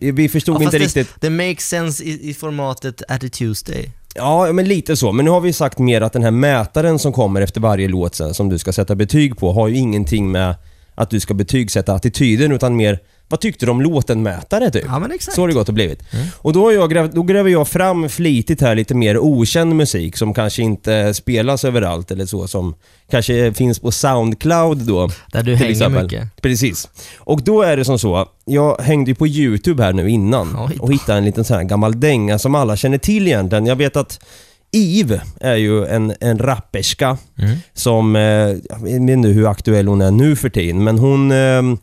S5: vi förstod
S1: Mm. Ja,
S5: inte
S1: fast det-
S5: riktigt.
S1: Det makes sense i, i formatet At the Tuesday.
S5: Ja, men lite så. Men nu har vi sagt mer att den här mätaren som kommer efter varje låt sen, som du ska sätta betyg på har ju ingenting med att du ska betygsätta attityden utan mer vad tyckte du om låten-mätare typ? Ja, men exakt. Mm. Så har det gått och blivit. Och då, har jag gräv, då gräver jag fram flitigt här lite mer okänd musik som kanske inte spelas överallt eller så som kanske finns på Soundcloud då. Där
S1: du hänger mycket.
S5: Precis. Och då är det som så, jag hängde ju på YouTube här nu innan och hittade en liten sån här gammal dänga som alla känner till egentligen. Jag vet att Eve är ju en, en rapperska som, eh, jag vet inte hur aktuell hon är nu för tiden, men hon... ehm,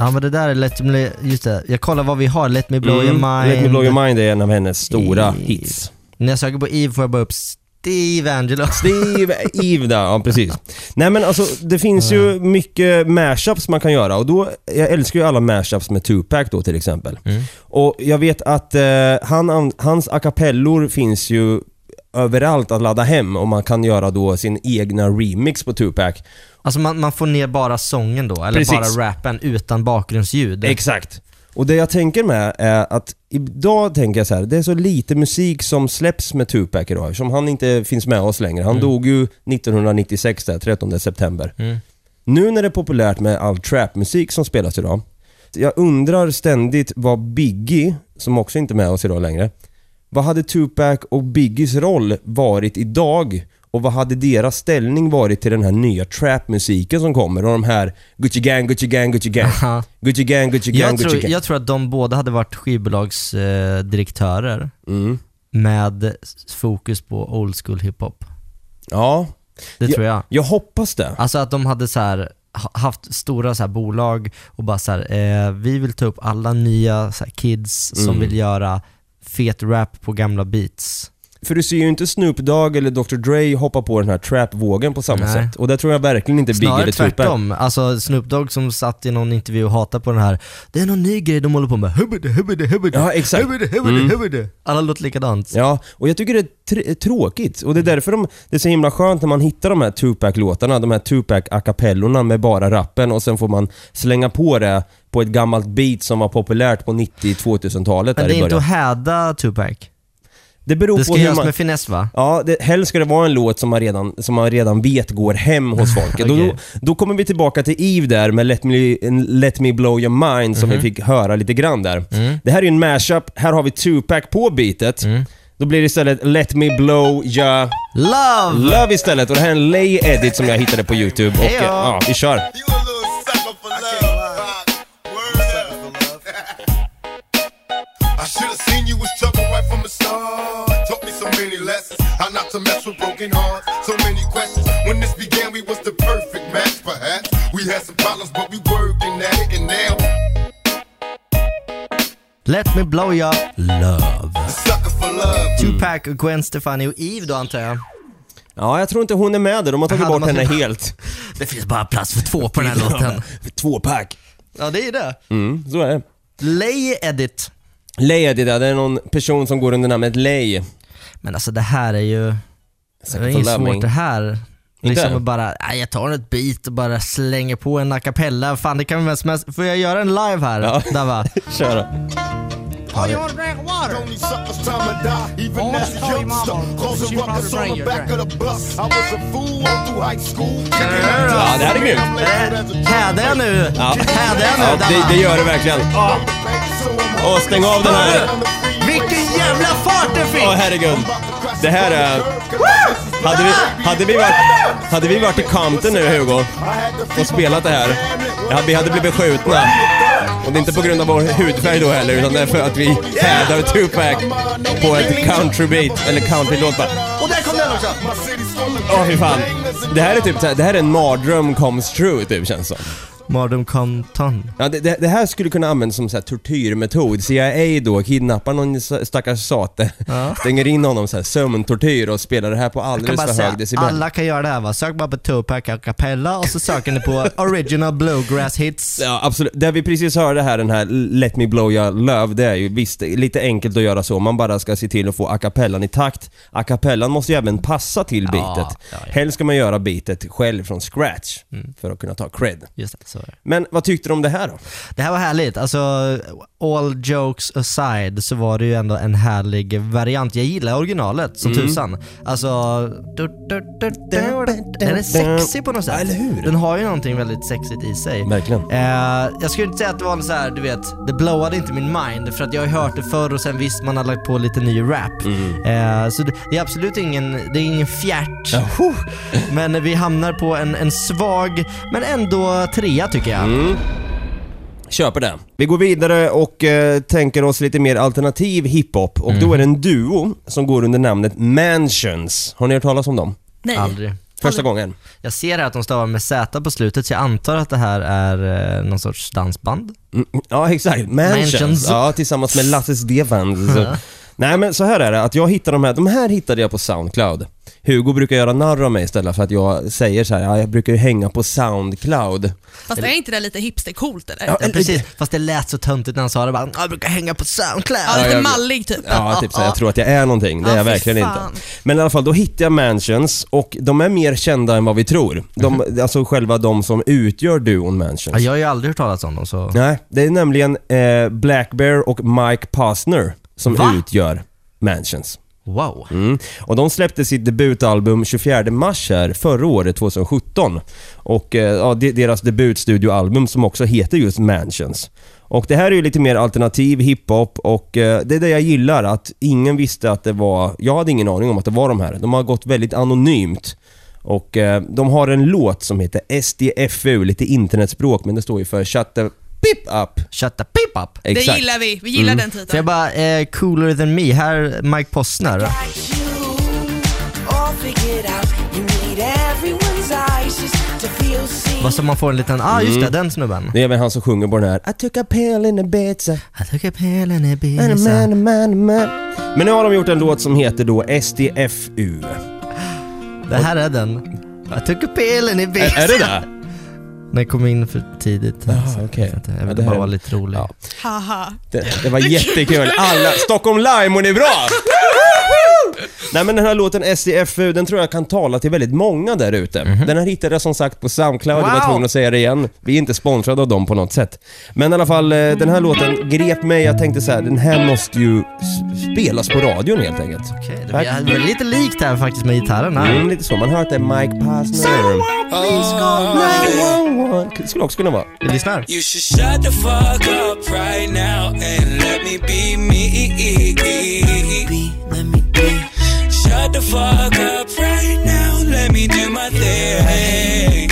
S1: Ja men det där är Let Me, just det, jag kollar vad vi har, Let Me Blow Your Mind.
S5: Mm, Let me blow your mind är en av hennes stora hits.
S1: När jag söker på Eve får jag bara upp Steve Angelo.
S5: Steve, Eve där, ja precis. Nej men alltså det finns ju mycket mashups man kan göra och då, jag älskar ju alla mashups med Tupac då till exempel. Och jag vet att eh, han, an- hans a cappellor finns ju överallt att ladda hem och man kan göra då sin egna remix på Tupac.
S1: Alltså man, man får ner bara sången då, eller
S5: Precis.
S1: bara rappen utan bakgrundsljud.
S5: Exakt. Och det jag tänker med är att idag tänker jag så här, det är så lite musik som släpps med Tupac idag eftersom han inte finns med oss längre. Han dog ju 1996 där, 13 september.
S1: Mm.
S5: Nu när det är populärt med all trapmusik som spelas idag, jag undrar ständigt vad Biggie, som också inte är med oss idag längre, vad hade Tupac och Biggies roll varit idag och vad hade deras ställning varit till den här nya trapmusiken som kommer och de här Gucci Gang, Gucci Gang, Gucci Gang.
S1: Aha.
S5: Gucci Gang, Gucci Gang,
S1: Jag
S5: Gucci
S1: tror,
S5: Gang.
S1: jag tror att de båda hade varit skivbolagsdirektörer eh, direktörer
S5: Mm.
S1: med s- fokus på old school hiphop.
S5: Ja.
S1: Det tror jag.
S5: Jag hoppas det.
S1: Alltså att de hade så här, ha- haft stora så här bolag och bara så här, eh, vi vill ta upp alla nya så här kids som
S5: Mm.
S1: vill göra fet rap på gamla beats.
S5: För du ser ju inte Snoop Dogg eller Dr Dre hoppa på den här trap-vågen på samma
S1: Nej.
S5: sätt. Och det tror jag verkligen inte Biggie
S1: Snarare
S5: eller Tupac.
S1: tvärtom. Alltså Snoop Dogg som satt i någon intervju och hatade på den här, det är någon ny grej de håller på med, hubbidi hubbidi hubbidi.
S5: Ja, exakt.
S1: Hubbidi hubbidi
S5: Mm.
S1: hubbidi. Alla låter likadant.
S5: Ja, och jag tycker det är tr- eh, tråkigt. Och det är därför de, det är så himla skönt när man hittar de här Tupac-låtarna, de här Tupac-acapellorna med bara rappen och sen får man slänga på det på ett gammalt beat som var populärt på 90-2000-talet där
S1: Men det
S5: i
S1: är inte
S5: början.
S1: att häda Tupac.
S5: Det beror
S1: Det
S5: på
S1: ska
S5: hur
S1: göras
S5: man...
S1: med finess va?
S5: Ja, det, helst ska det vara en låt som man redan, som man redan vet går hem hos folk. då, då,
S1: Okej.
S5: då kommer vi tillbaka till Eve där med Let Me, Let me blow your mind som
S1: Mhm.
S5: vi fick höra lite grann där.
S1: Mm.
S5: Det här är ju en mashup, här har vi Tupac på beatet. Då blir det istället Let Me Blow Ya Love! Love istället och det här är en lay edit som jag hittade på YouTube och eh,
S4: Heja.
S5: ja, vi kör.
S13: I should have seen you was trouble right from the start. Taught me so many lessons, how not to mess with broken hearts. So many questions. When this began, we was the perfect match, perhaps. We had some problems, but we working at it, and now
S1: Let me blow ya love.
S5: Tupac och Gwen Stefani och Eve då antar jag. Ja, jag tror inte hon är med där. De har tagit
S1: Aha, de
S5: bort
S1: har
S5: henne
S1: tagit-
S5: helt.
S1: Det finns bara plats för två på den här låten.
S5: Två pack.
S1: Ja, det är det.
S5: Mm, så är det.
S1: Lay edit.
S5: Lay edit, ja. Det är någon person som går under namnet Lay.
S1: Men alltså det här är ju... Det är
S5: for
S1: inget
S5: loving.
S1: svårt det här.
S5: Inte?
S1: Liksom att bara, nej, jag tar ett beat och bara slänger på en a cappella. Fan det kan vem som helst. Får jag göra en live här? Ja. Dava?
S5: Kör då.
S13: All you want to drink water. Only suckers time to die, even
S4: Oh,
S13: as a
S4: sorry,
S13: youngster.
S4: mama. She
S13: Causing ruckus
S4: probably
S13: on
S4: bring
S13: the back
S4: your
S13: of the bus. I was a fool all through high school.
S5: Ja, det här är grymt.
S1: Hädar jag nu?
S5: Ja.
S1: Hädar jag nu
S5: Ja,
S1: Dava?
S5: det, det gör det verkligen. Åh, stäng av den här.
S1: Vilken jävla fart det fick!
S5: Åh herregud. Det här är... Hade vi, hade, vi varit, hade vi varit i Compton nu Hugo och spelat det här, ja, vi hade blivit skjutna. Och det är inte på grund av vår hudfärg då heller, utan det är för att vi hädar Tupac på ett countrybeat, eller countrylåt bara.
S1: Och där kom den också!
S5: Åh fy fan. Det här är typ så här, det här är en mardröm comes true typ känns det som.
S1: Mardum Compton.
S5: Ja, det, det, det här skulle kunna användas som så här tortyrmetod. CIA då kidnappar någon s- stackars sate, stänger in honom så här sömntortyr och spelar det här på
S1: Jag kan
S5: alldeles
S1: bara
S5: för
S1: säga,
S5: hög decibel.
S1: alla kan göra det här va? Sök bara på Tupac a cappella och så söker ni på original bluegrass hits.
S5: Ja, absolut. Det vi precis hörde här, den här Let Me Blow Your Love, det är ju visst det är lite enkelt att göra så. Man bara ska se till att få a cappellan i takt. A cappellan måste ju även passa till beatet. Helst ska man göra beatet själv från scratch
S1: Mm.
S5: för att kunna ta cred.
S1: Just det, så är det.
S5: Men vad tyckte du om det här då?
S1: Det här var härligt. Alltså, all jokes aside så var det ju ändå en härlig variant. Jag gillar originalet som
S5: Mm.
S1: tusan. Alltså, du, du, du, du, den är sexig på något sätt. Eller hur? Den har ju någonting väldigt sexigt i sig.
S5: Verkligen.
S1: Eh, jag skulle inte säga att det var en så här, du vet, det blowade inte min mind för att jag har ju hört det förr och sen visst man har lagt på lite ny rap. Eh, så det, det är absolut ingen, det är ingen fjärt. Men vi hamnar på en, en svag, men ändå trea tycker jag.
S5: Köper det. Vi går vidare och eh, tänker oss lite mer alternativ hiphop och då är det en duo som går under namnet Mansions. Har ni hört talas om dem?
S1: Nej. Aldrig.
S5: Första gången.
S1: Jag ser här att de stavar med Z på slutet, så jag antar att det här är eh, någon sorts dansband.
S5: Mm, Ja, exakt. Mansions. Ja, tillsammans med Lasses Devans.
S1: Ja.
S5: Nej men så här är det, att jag hittar de här, de här hittade jag på Soundcloud. Hugo brukar göra narr av mig istället för att jag säger så här, ja, jag brukar ju hänga på Soundcloud.
S12: Fast är inte det lite hipstercoolt eller?
S5: Eh,
S1: Ja, Eh, precis. Fast det lät så töntigt när han sa det bara, jag brukar hänga på Soundcloud.
S12: Ja, lite
S5: jag-
S12: mallig typ.
S5: Ja, typ så här, jag tror att jag är någonting. Det är
S12: Ja,
S5: jag
S12: fy
S5: verkligen inte.
S12: fan.
S5: Men i alla fall, då hittar jag Mansions och de är mer kända än vad vi tror. De, Alltså själva de som utgör duon Mansions.
S1: Ja, jag har ju aldrig hört talas om dem så...
S5: Nej, det är nämligen eh, Black Bear och Mike Posner som
S1: Va?
S5: utgör Mansions.
S1: Wow.
S5: Mm. Och de släppte sitt debutalbum 24 mars här förra året, 2017. Och eh, ja, det- deras debutstudioalbum som också heter just Mansions. Och det här är ju lite mer alternativ hiphop och eh, det är det jag gillar att ingen visste att det var, jag hade ingen aning om att det var de här. De har gått väldigt anonymt. Och eh, de har en låt som heter SDFU, lite internetspråk men det står ju för Shut the Pip Up.
S1: Shut the Pip Up.
S5: Exakt. Mm.
S1: titeln. Får jag bara, eh, cooler than me, här Mike Posner.
S4: All figured out, you need everyone's eyes just to feel seen.
S1: Vad som man får en liten, ah just det, den snubben.
S5: Det är väl han som sjunger på den här
S4: I took a pill in Ibiza.
S1: I took a pill in
S4: And a man,
S1: Ibiza.
S4: a man, a man.
S5: Men nu har de gjort en låt som heter då SDFU.
S1: Det här är den. I took a pill in Ibiza.
S5: Är, är det det?
S1: Den kom in för tidigt.
S5: Ah, okej.
S1: Alltså,
S5: Ja,
S1: Jag ville
S5: det här
S1: bara
S5: är-
S1: vara lite rolig.
S12: Haha.
S5: Det, det var jättekul. Alla, Stockholm Live mår ni bra? Nej men den här låten SDFU, den tror jag kan tala till väldigt många där ute.
S1: Mhm.
S5: Den här hittade jag som sagt på Soundcloud, jag var
S4: Wow.
S5: tvungen att säga det igen. Vi är inte sponsrade av dem på något sätt. Men i alla fall, eh, den här låten grep mig. Jag tänkte så här, den här måste ju s- spelas på radion helt enkelt.
S1: Okej, Det är det är lite likt här faktiskt med gitarren här.
S5: Mm, lite så. Man hör att det är Mike Posner. Det skulle också kunna vara.
S1: Vi lyssnar.
S14: You should shut the fuck up right now and let me be me. Let me be fuck up right now. Let me do my thing.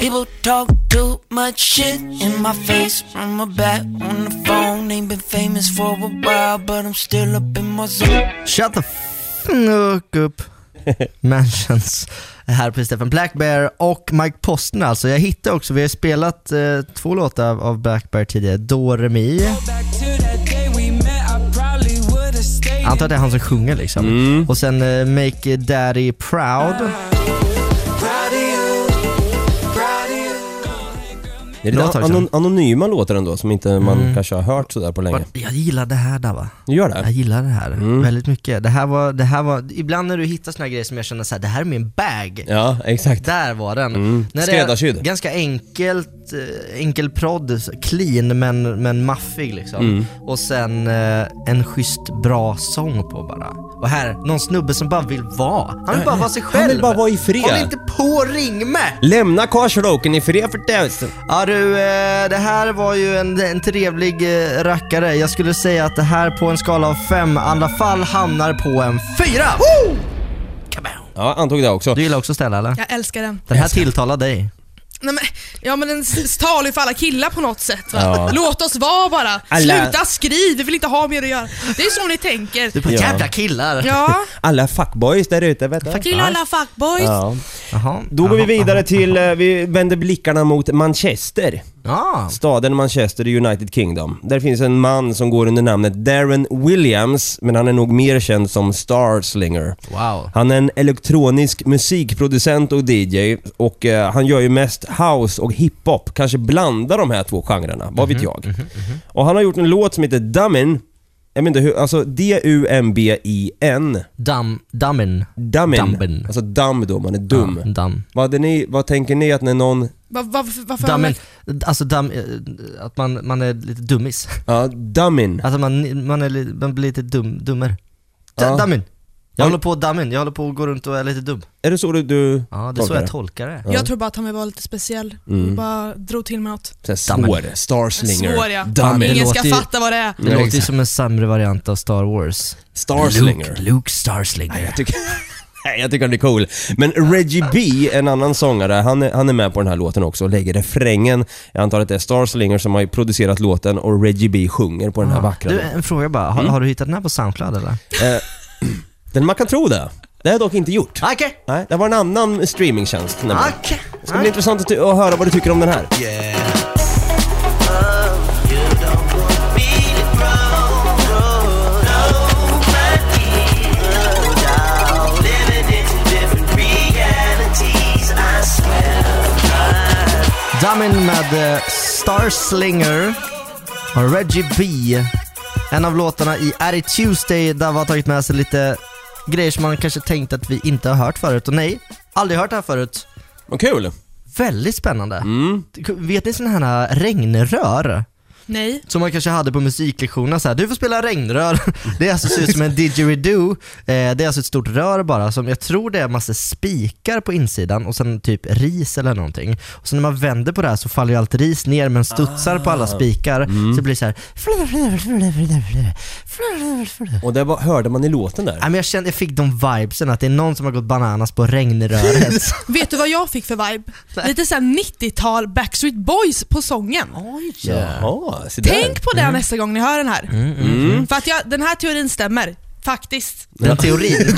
S4: People talk too much shit in my face from my back on the phone. Ain't been famous for a while, but I'm still up in my zone.
S1: Shut the fuck up. Mansions här på Stefan Black Bear och Mike Postner alltså. Jag hittade också, vi har spelat eh, två låtar av- av Black Bear tidigare, Doremi. Jag antar att det är han som sjunger liksom.
S5: Mm.
S1: Och sen eh, Make Daddy Proud.
S5: Det är
S1: Det var
S5: lite
S1: ett tag sedan.
S5: anon- anonyma låtar ändå som inte man
S1: Mm.
S5: kanske har hört sådär på länge.
S1: Jag gillar det här Dava.
S5: Du gör det? Mm.
S1: Jag gillar det här väldigt mycket. Det här var, det här var, ibland när du hittar såna här grejer som jag känner så här, det här är min bag.
S5: Ja, exakt.
S1: Där var den.
S5: Mm.
S1: När det är
S5: Skräddarsydd.
S1: Ganska enkelt, eh, enkel prodd, så clean men, men maffig liksom.
S5: Mm.
S1: Och sen eh, en schysst bra sång på bara. Och här, någon snubbe som bara vill vara. Han vill bara vara sig själv.
S5: Han vill bara vara i fred.
S1: Håll inte på och ring med!
S5: Lämna Karlsloken i fred för tusen.
S1: Ja du, eh, det här var ju en, en trevlig eh, rackare. Jag skulle säga att det här på en skala av fem i alla fall hamnar på en fyra.
S5: Ja, antog det också.
S1: Du gillar också Stella eller?
S7: Jag älskar den.
S1: Den här tilltalar dig.
S7: Nej, men, ja men den s- talar ju för alla killar på något sätt. Va?
S1: Ja.
S7: Låt oss vara bara.
S5: Alla-
S7: Sluta skriv, vi vill inte ha mer att göra. Det är så ni tänker.
S5: Du är bara, Ja. jävla killar.
S7: Ja.
S5: Alla fuckboys där ute vet du.
S7: Killar alla fuckboys.
S5: Ja. Då går vi vidare till, eh, vi vänder blickarna mot Manchester. Staden Manchester i United Kingdom. Där finns en man som går under namnet Darren Williams, men han är nog mer känd som Starslinger.
S1: Wow.
S5: Han är en elektronisk musikproducent och DJ och eh, han gör ju mest house och hiphop. Kanske blandar de här två genrerna, vad
S1: Mhm,
S5: vet jag. Och han har gjort en låt som heter Dummin. Jag menar hur, alltså D-U-M-B-I-N.
S1: Dum, dummin.
S5: Dummin.
S1: Dummin.
S5: Alltså dum då, man är dum.
S1: Ja, dum.
S5: Vad, hade ni, vad tänker ni att när någon...
S7: Va, va, varför har
S1: Dummin.
S7: man-
S1: Alltså dum, eh, att man, man är lite dummis.
S5: Ja, dummin.
S1: Alltså man, man, är, li- man blir lite dum, dummer. D-
S5: Ja.
S1: Dummin. Jag
S5: Ja.
S1: håller på att dummin, jag håller på att gå runt och är lite dum.
S5: Är det så du, du
S1: Ja, det är så jag tolkar det.
S7: Jag tror bara att han vill vara lite speciell.
S5: Mm.
S7: Bara drog till med något.
S5: Såhär svår, starslinger.
S7: Svår, ja.
S5: Dummin.
S7: Ingen ska
S1: Det låter ju-
S7: fatta vad det är.
S1: Det låter ju som en sämre variant av Star Wars.
S5: Starslinger.
S1: Luke, Luke Starslinger.
S5: jag tycker... Nej, jag tycker han är cool. Men Reggie B, en annan sångare, han är, han är med på den här låten också och lägger refrängen. Jag antar att det är Starslinger som har producerat låten och Reggie B sjunger på den här vackra
S1: Ah. Du,
S5: låten.
S1: en fråga bara. Har,
S5: Mm.
S1: har du hittat den här på Soundcloud eller?
S5: Eh, den man kan tro det. Det har jag dock inte gjort. Nej, det var en annan streamingtjänst nämligen.
S1: Okej. Ah.
S5: Det ska bli intressant att, att höra vad du tycker om den här.
S1: Dummin med eh, Starslinger och Reggie B. En av låtarna i Är det Tuesday där vi har tagit med sig lite grejer som man kanske tänkt att vi inte har hört förut. Och nej, aldrig hört det här förut.
S5: Vad kul!
S1: Väldigt spännande. Vet ni sådana här regnrör?
S7: Nej.
S1: Som man kanske hade på musiklektionerna så här, du får spela regnrör. Det är alltså ser ut som en didgeridoo. Eh, det är alltså ett stort rör bara som jag tror det är massa spikar på insidan och sen typ ris eller någonting. Och sen när man vänder på det här så faller ju allt ris ner men studsar på
S5: Ah.
S1: alla spikar.
S5: Mm.
S1: Så det blir så här.
S5: Och det var, hörde man i låten där?
S1: Nej, men jag kände, jag fick de vibesen att det är någon som har gått bananas på regnröret.
S7: Vet du vad jag fick för vibe? Lite såhär 90-tal Backstreet Boys på sången.
S5: Jaha, se där.
S7: Tänk på det
S5: Mm.
S7: nästa gång ni hör den här.
S5: Mm, mm, mm.
S7: För att jag, den här teorin stämmer, faktiskt.
S1: Den teorin.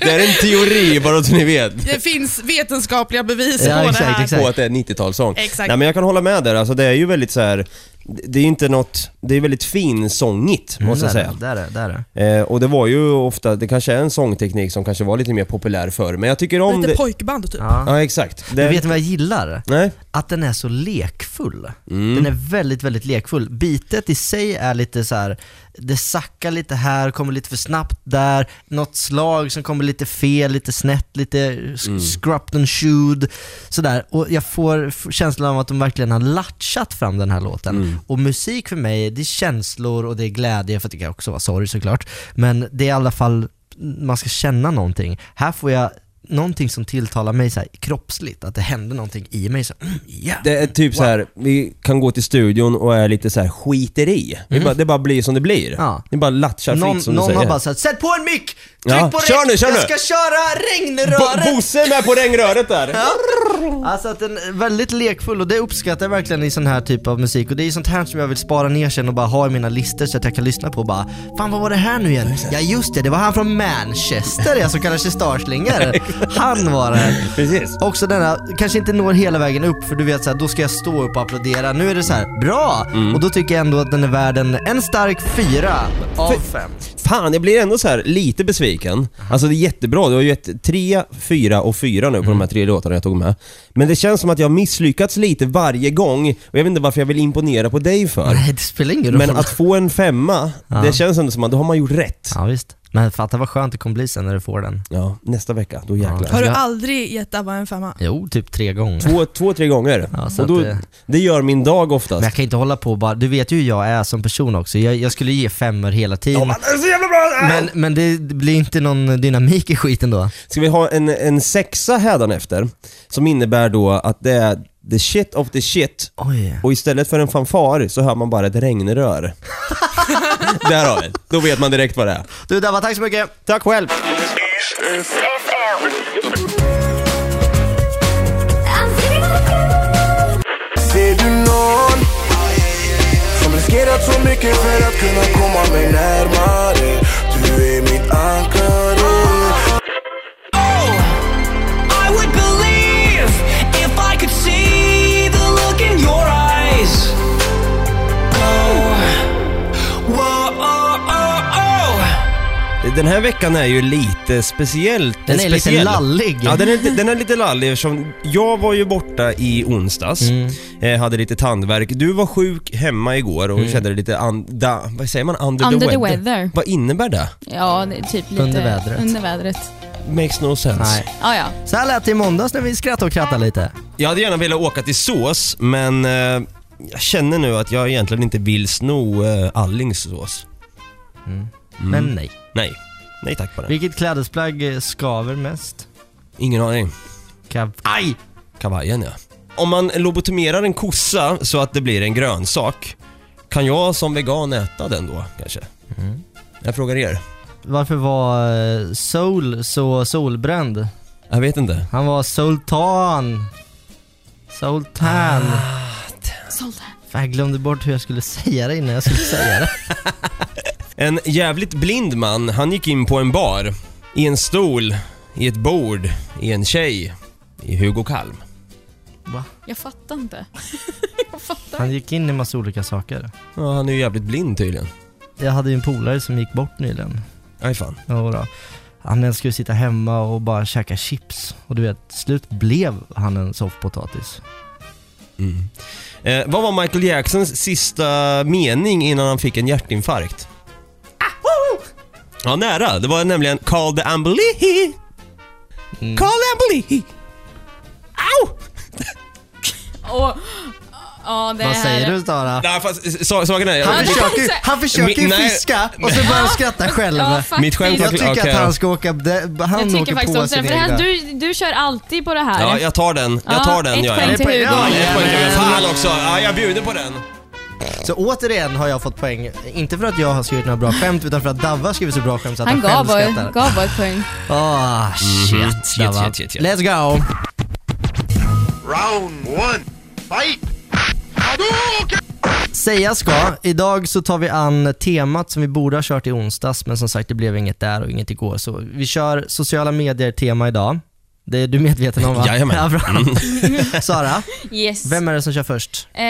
S5: det är en teori, bara så ni vet.
S7: Det finns vetenskapliga bevis på det här.
S5: På att det är en 90-talssång.
S7: Exakt.
S5: Nej men jag kan hålla med där, alltså det är ju väldigt så här. Det är ju inte något, det är väldigt finsångigt måste jag
S1: där är
S5: säga.
S1: det, Mm, där är det, där är det.
S5: Eh, och det var ju ofta, det kanske är en sångteknik som kanske var lite mer populär förr, men jag tycker om
S7: Lite
S5: det...
S7: pojkband typ.
S5: Ja, exakt.
S1: Men vet ni vad jag gillar?
S5: Nej.
S1: Att den är så lekfull. Den är väldigt, väldigt lekfull. Bitet i sig är lite så här. det sackar lite här, kommer lite för snabbt där, något slag som kommer lite fel, lite snett, lite mm. scrupt and shooed. Sådär. Och jag får f- känslan av att de verkligen har latchat fram den här låten. Och musik för mig, det är känslor och det är glädje, för det kan också vara sorg såklart. Men det är i alla fall, man ska känna någonting. Här får jag någonting som tilltalar mig så här, kroppsligt, att det händer någonting i mig. Så, här, mm, ja.
S5: Det är typ så här, vi kan gå till studion och är lite så här skiter i. Det,
S1: Mm.
S5: bara, det bara blir som det blir.
S1: Ja.
S5: Det bara lattjar fritt
S1: Någon,
S5: som du
S1: någon
S5: säger.
S1: har bara sagt sätt på en mick! Tryck
S5: Ja,
S1: på
S5: kör
S1: rätt!
S5: nu, kör
S1: jag
S5: nu!"
S1: ska köra regnröret!
S5: Bo- Bosse är med på regnröret där!
S1: Ja. Alltså att den är väldigt lekfull och det uppskattar jag verkligen i sån här typ av musik och det är sånt här som jag vill spara ner sen och bara ha i mina listor så att jag kan lyssna på och bara Fan vad var det här nu igen? Ja just det, det var han från Manchester ja, som kallas för starslingor. Han var det.
S5: Precis.
S1: Också denna, kanske inte når hela vägen upp för du vet såhär, då ska jag stå upp och applådera. Nu är det så här: bra!
S5: Mm.
S1: Och då tycker jag ändå att den är värd en, en stark fyra av fem.
S5: Fan, jag blir ändå så här lite besviken. Alltså det är jättebra, du har ju gett tre, fyra och fyra nu på de här tre låtarna jag tog med. Men det känns som att jag har misslyckats lite varje gång och jag vet inte varför jag vill imponera på dig för.
S1: Nej, det spelar ingen roll.
S5: Men att få en femma,
S1: Ja.
S5: det känns ändå som att då har man gjort rätt.
S1: Ja visst. Men fatta vad skönt det kommer bli sen när du får den.
S5: Ja, nästa vecka, då jäklar.
S7: Har du aldrig gett ABBA en femma?
S1: Jo, typ tre gånger.
S5: Två, två tre gånger.
S1: så
S5: och då,
S1: att
S5: det...
S1: det-
S5: gör min dag oftast.
S1: Men jag kan inte hålla på och bara, du vet ju hur jag är som person också. Jag, jag skulle ge femmor hela tiden.
S5: är så jävla bra!
S1: men, men det blir inte någon dynamik i skiten då.
S5: Ska vi ha en, en sexa hädanefter, som innebär då att det är the shit of the shit
S1: Oj.
S5: och istället för en fanfar så hör man bara ett regnrör. Där har vi det. Då vet man direkt vad det är.
S1: Du Dabba, tack så mycket. Tack själv.
S15: Ser du någon som riskerat så mycket för att kunna komma mig närmare? Du är mitt ankare
S14: I would believe if I could see the look in your eyes. Oh, whoa, oh, oh, oh.
S5: Den här veckan är ju lite speciellt.
S1: Den är lite
S5: speciell.
S1: lallig.
S5: Ja, den är, lite- den är lite lallig eftersom jag var ju borta i onsdags.
S1: Mm.
S5: Eh, hade lite tandvärk. Du var sjuk hemma igår och
S1: Mm.
S5: kände dig lite un, da, vad säger man? Under,
S2: Under
S5: the,
S2: the
S5: weather.
S2: weather.
S5: Vad innebär det?
S2: Ja, det är typ lite...
S1: Under vädret.
S2: Under vädret.
S5: Makes no sense.
S1: Nej.
S2: Ah, ja.
S1: Så här lät det i måndags när vi skrattade och krattade lite.
S5: Jag hade gärna velat åka till sås, men eh, jag känner nu att jag egentligen inte vill sno eh, Allings sås. Mm.
S1: Men nej.
S5: Nej. Nej tack bara.
S1: Vilket klädesplagg eh, skaver mest?
S5: Ingen aning.
S1: Kavaj.
S5: Kavajen ja. Om man lobotomerar en kossa så att det blir en grönsak, kan jag som vegan äta den då kanske? Jag frågar er.
S1: Varför var eh, Soul så solbränd?
S5: Jag vet inte.
S1: Han var Sultan. Sultan.
S2: Sultan.
S1: Fan, jag glömde bort hur jag skulle säga det innan jag skulle säga det.
S5: En jävligt blind man, han gick in på en bar, i en stol, i ett bord, i en tjej, i Hugo Kalm.
S2: Jag fattar inte.
S1: Han gick in i massa olika saker.
S5: Ja, han är ju jävligt blind tydligen.
S1: Jag hade ju en polare som gick bort nyligen.
S5: Aj fan.
S1: Jodå. Han den skulle sitta hemma och bara käka chips. Och du vet, till slut blev han en soffpotatis.
S5: Mm. Eh, vad var Michael Jacksons sista mening innan han fick en hjärtinfarkt? Ja, nära. Det var nämligen “Call the ambulance”. Call the ambulance!
S2: Och, ja, det
S1: Vad
S2: här-
S1: säger du Sara?
S5: Nej, fast eh, sa- saken är...
S1: Han försöker ju- han försöker ju
S5: Mi- nej.
S1: fiska och så börjar han skratta själv.
S2: Ja, faktiskt.
S5: Mitt skämt var-
S1: jag tycker
S5: okej.
S1: att han ska åka, de, han
S2: Jag tycker
S1: åker
S2: faktiskt
S1: på
S2: också det.
S1: sin
S2: För det här,
S1: egna.
S2: du, du kör alltid på det här.
S5: Ja, jag tar den. Jag tar
S2: Ja,
S5: den
S2: ett
S5: gör jag.
S2: poäng till Hugo.
S5: Ja, ett poäng till Hugo. Fan också. Ja, jag bjuder på den.
S1: Så återigen har jag fått poäng, inte för att jag har skrivit några bra skämt utan för att Davva har skrivit så bra skämt så att
S2: Han
S1: han,
S2: gav,
S1: själv
S2: bara-
S1: skrattar.
S2: gav bara ett poäng.
S1: Ah, shit,
S5: Mhm. Shit, shit,
S1: Davva.
S5: shit, shit.
S1: Let's go!
S14: Round one, fight.
S1: Säga ska, idag så tar vi an temat som vi borde ha kört i onsdags men som sagt det blev inget där och inget igår så vi kör sociala medier tema idag. Det är du medveten om va?
S5: Jajamän. Mm.
S1: Ja, bra. Sara,
S2: Yes.
S1: vem är det som kör först?
S2: Eh,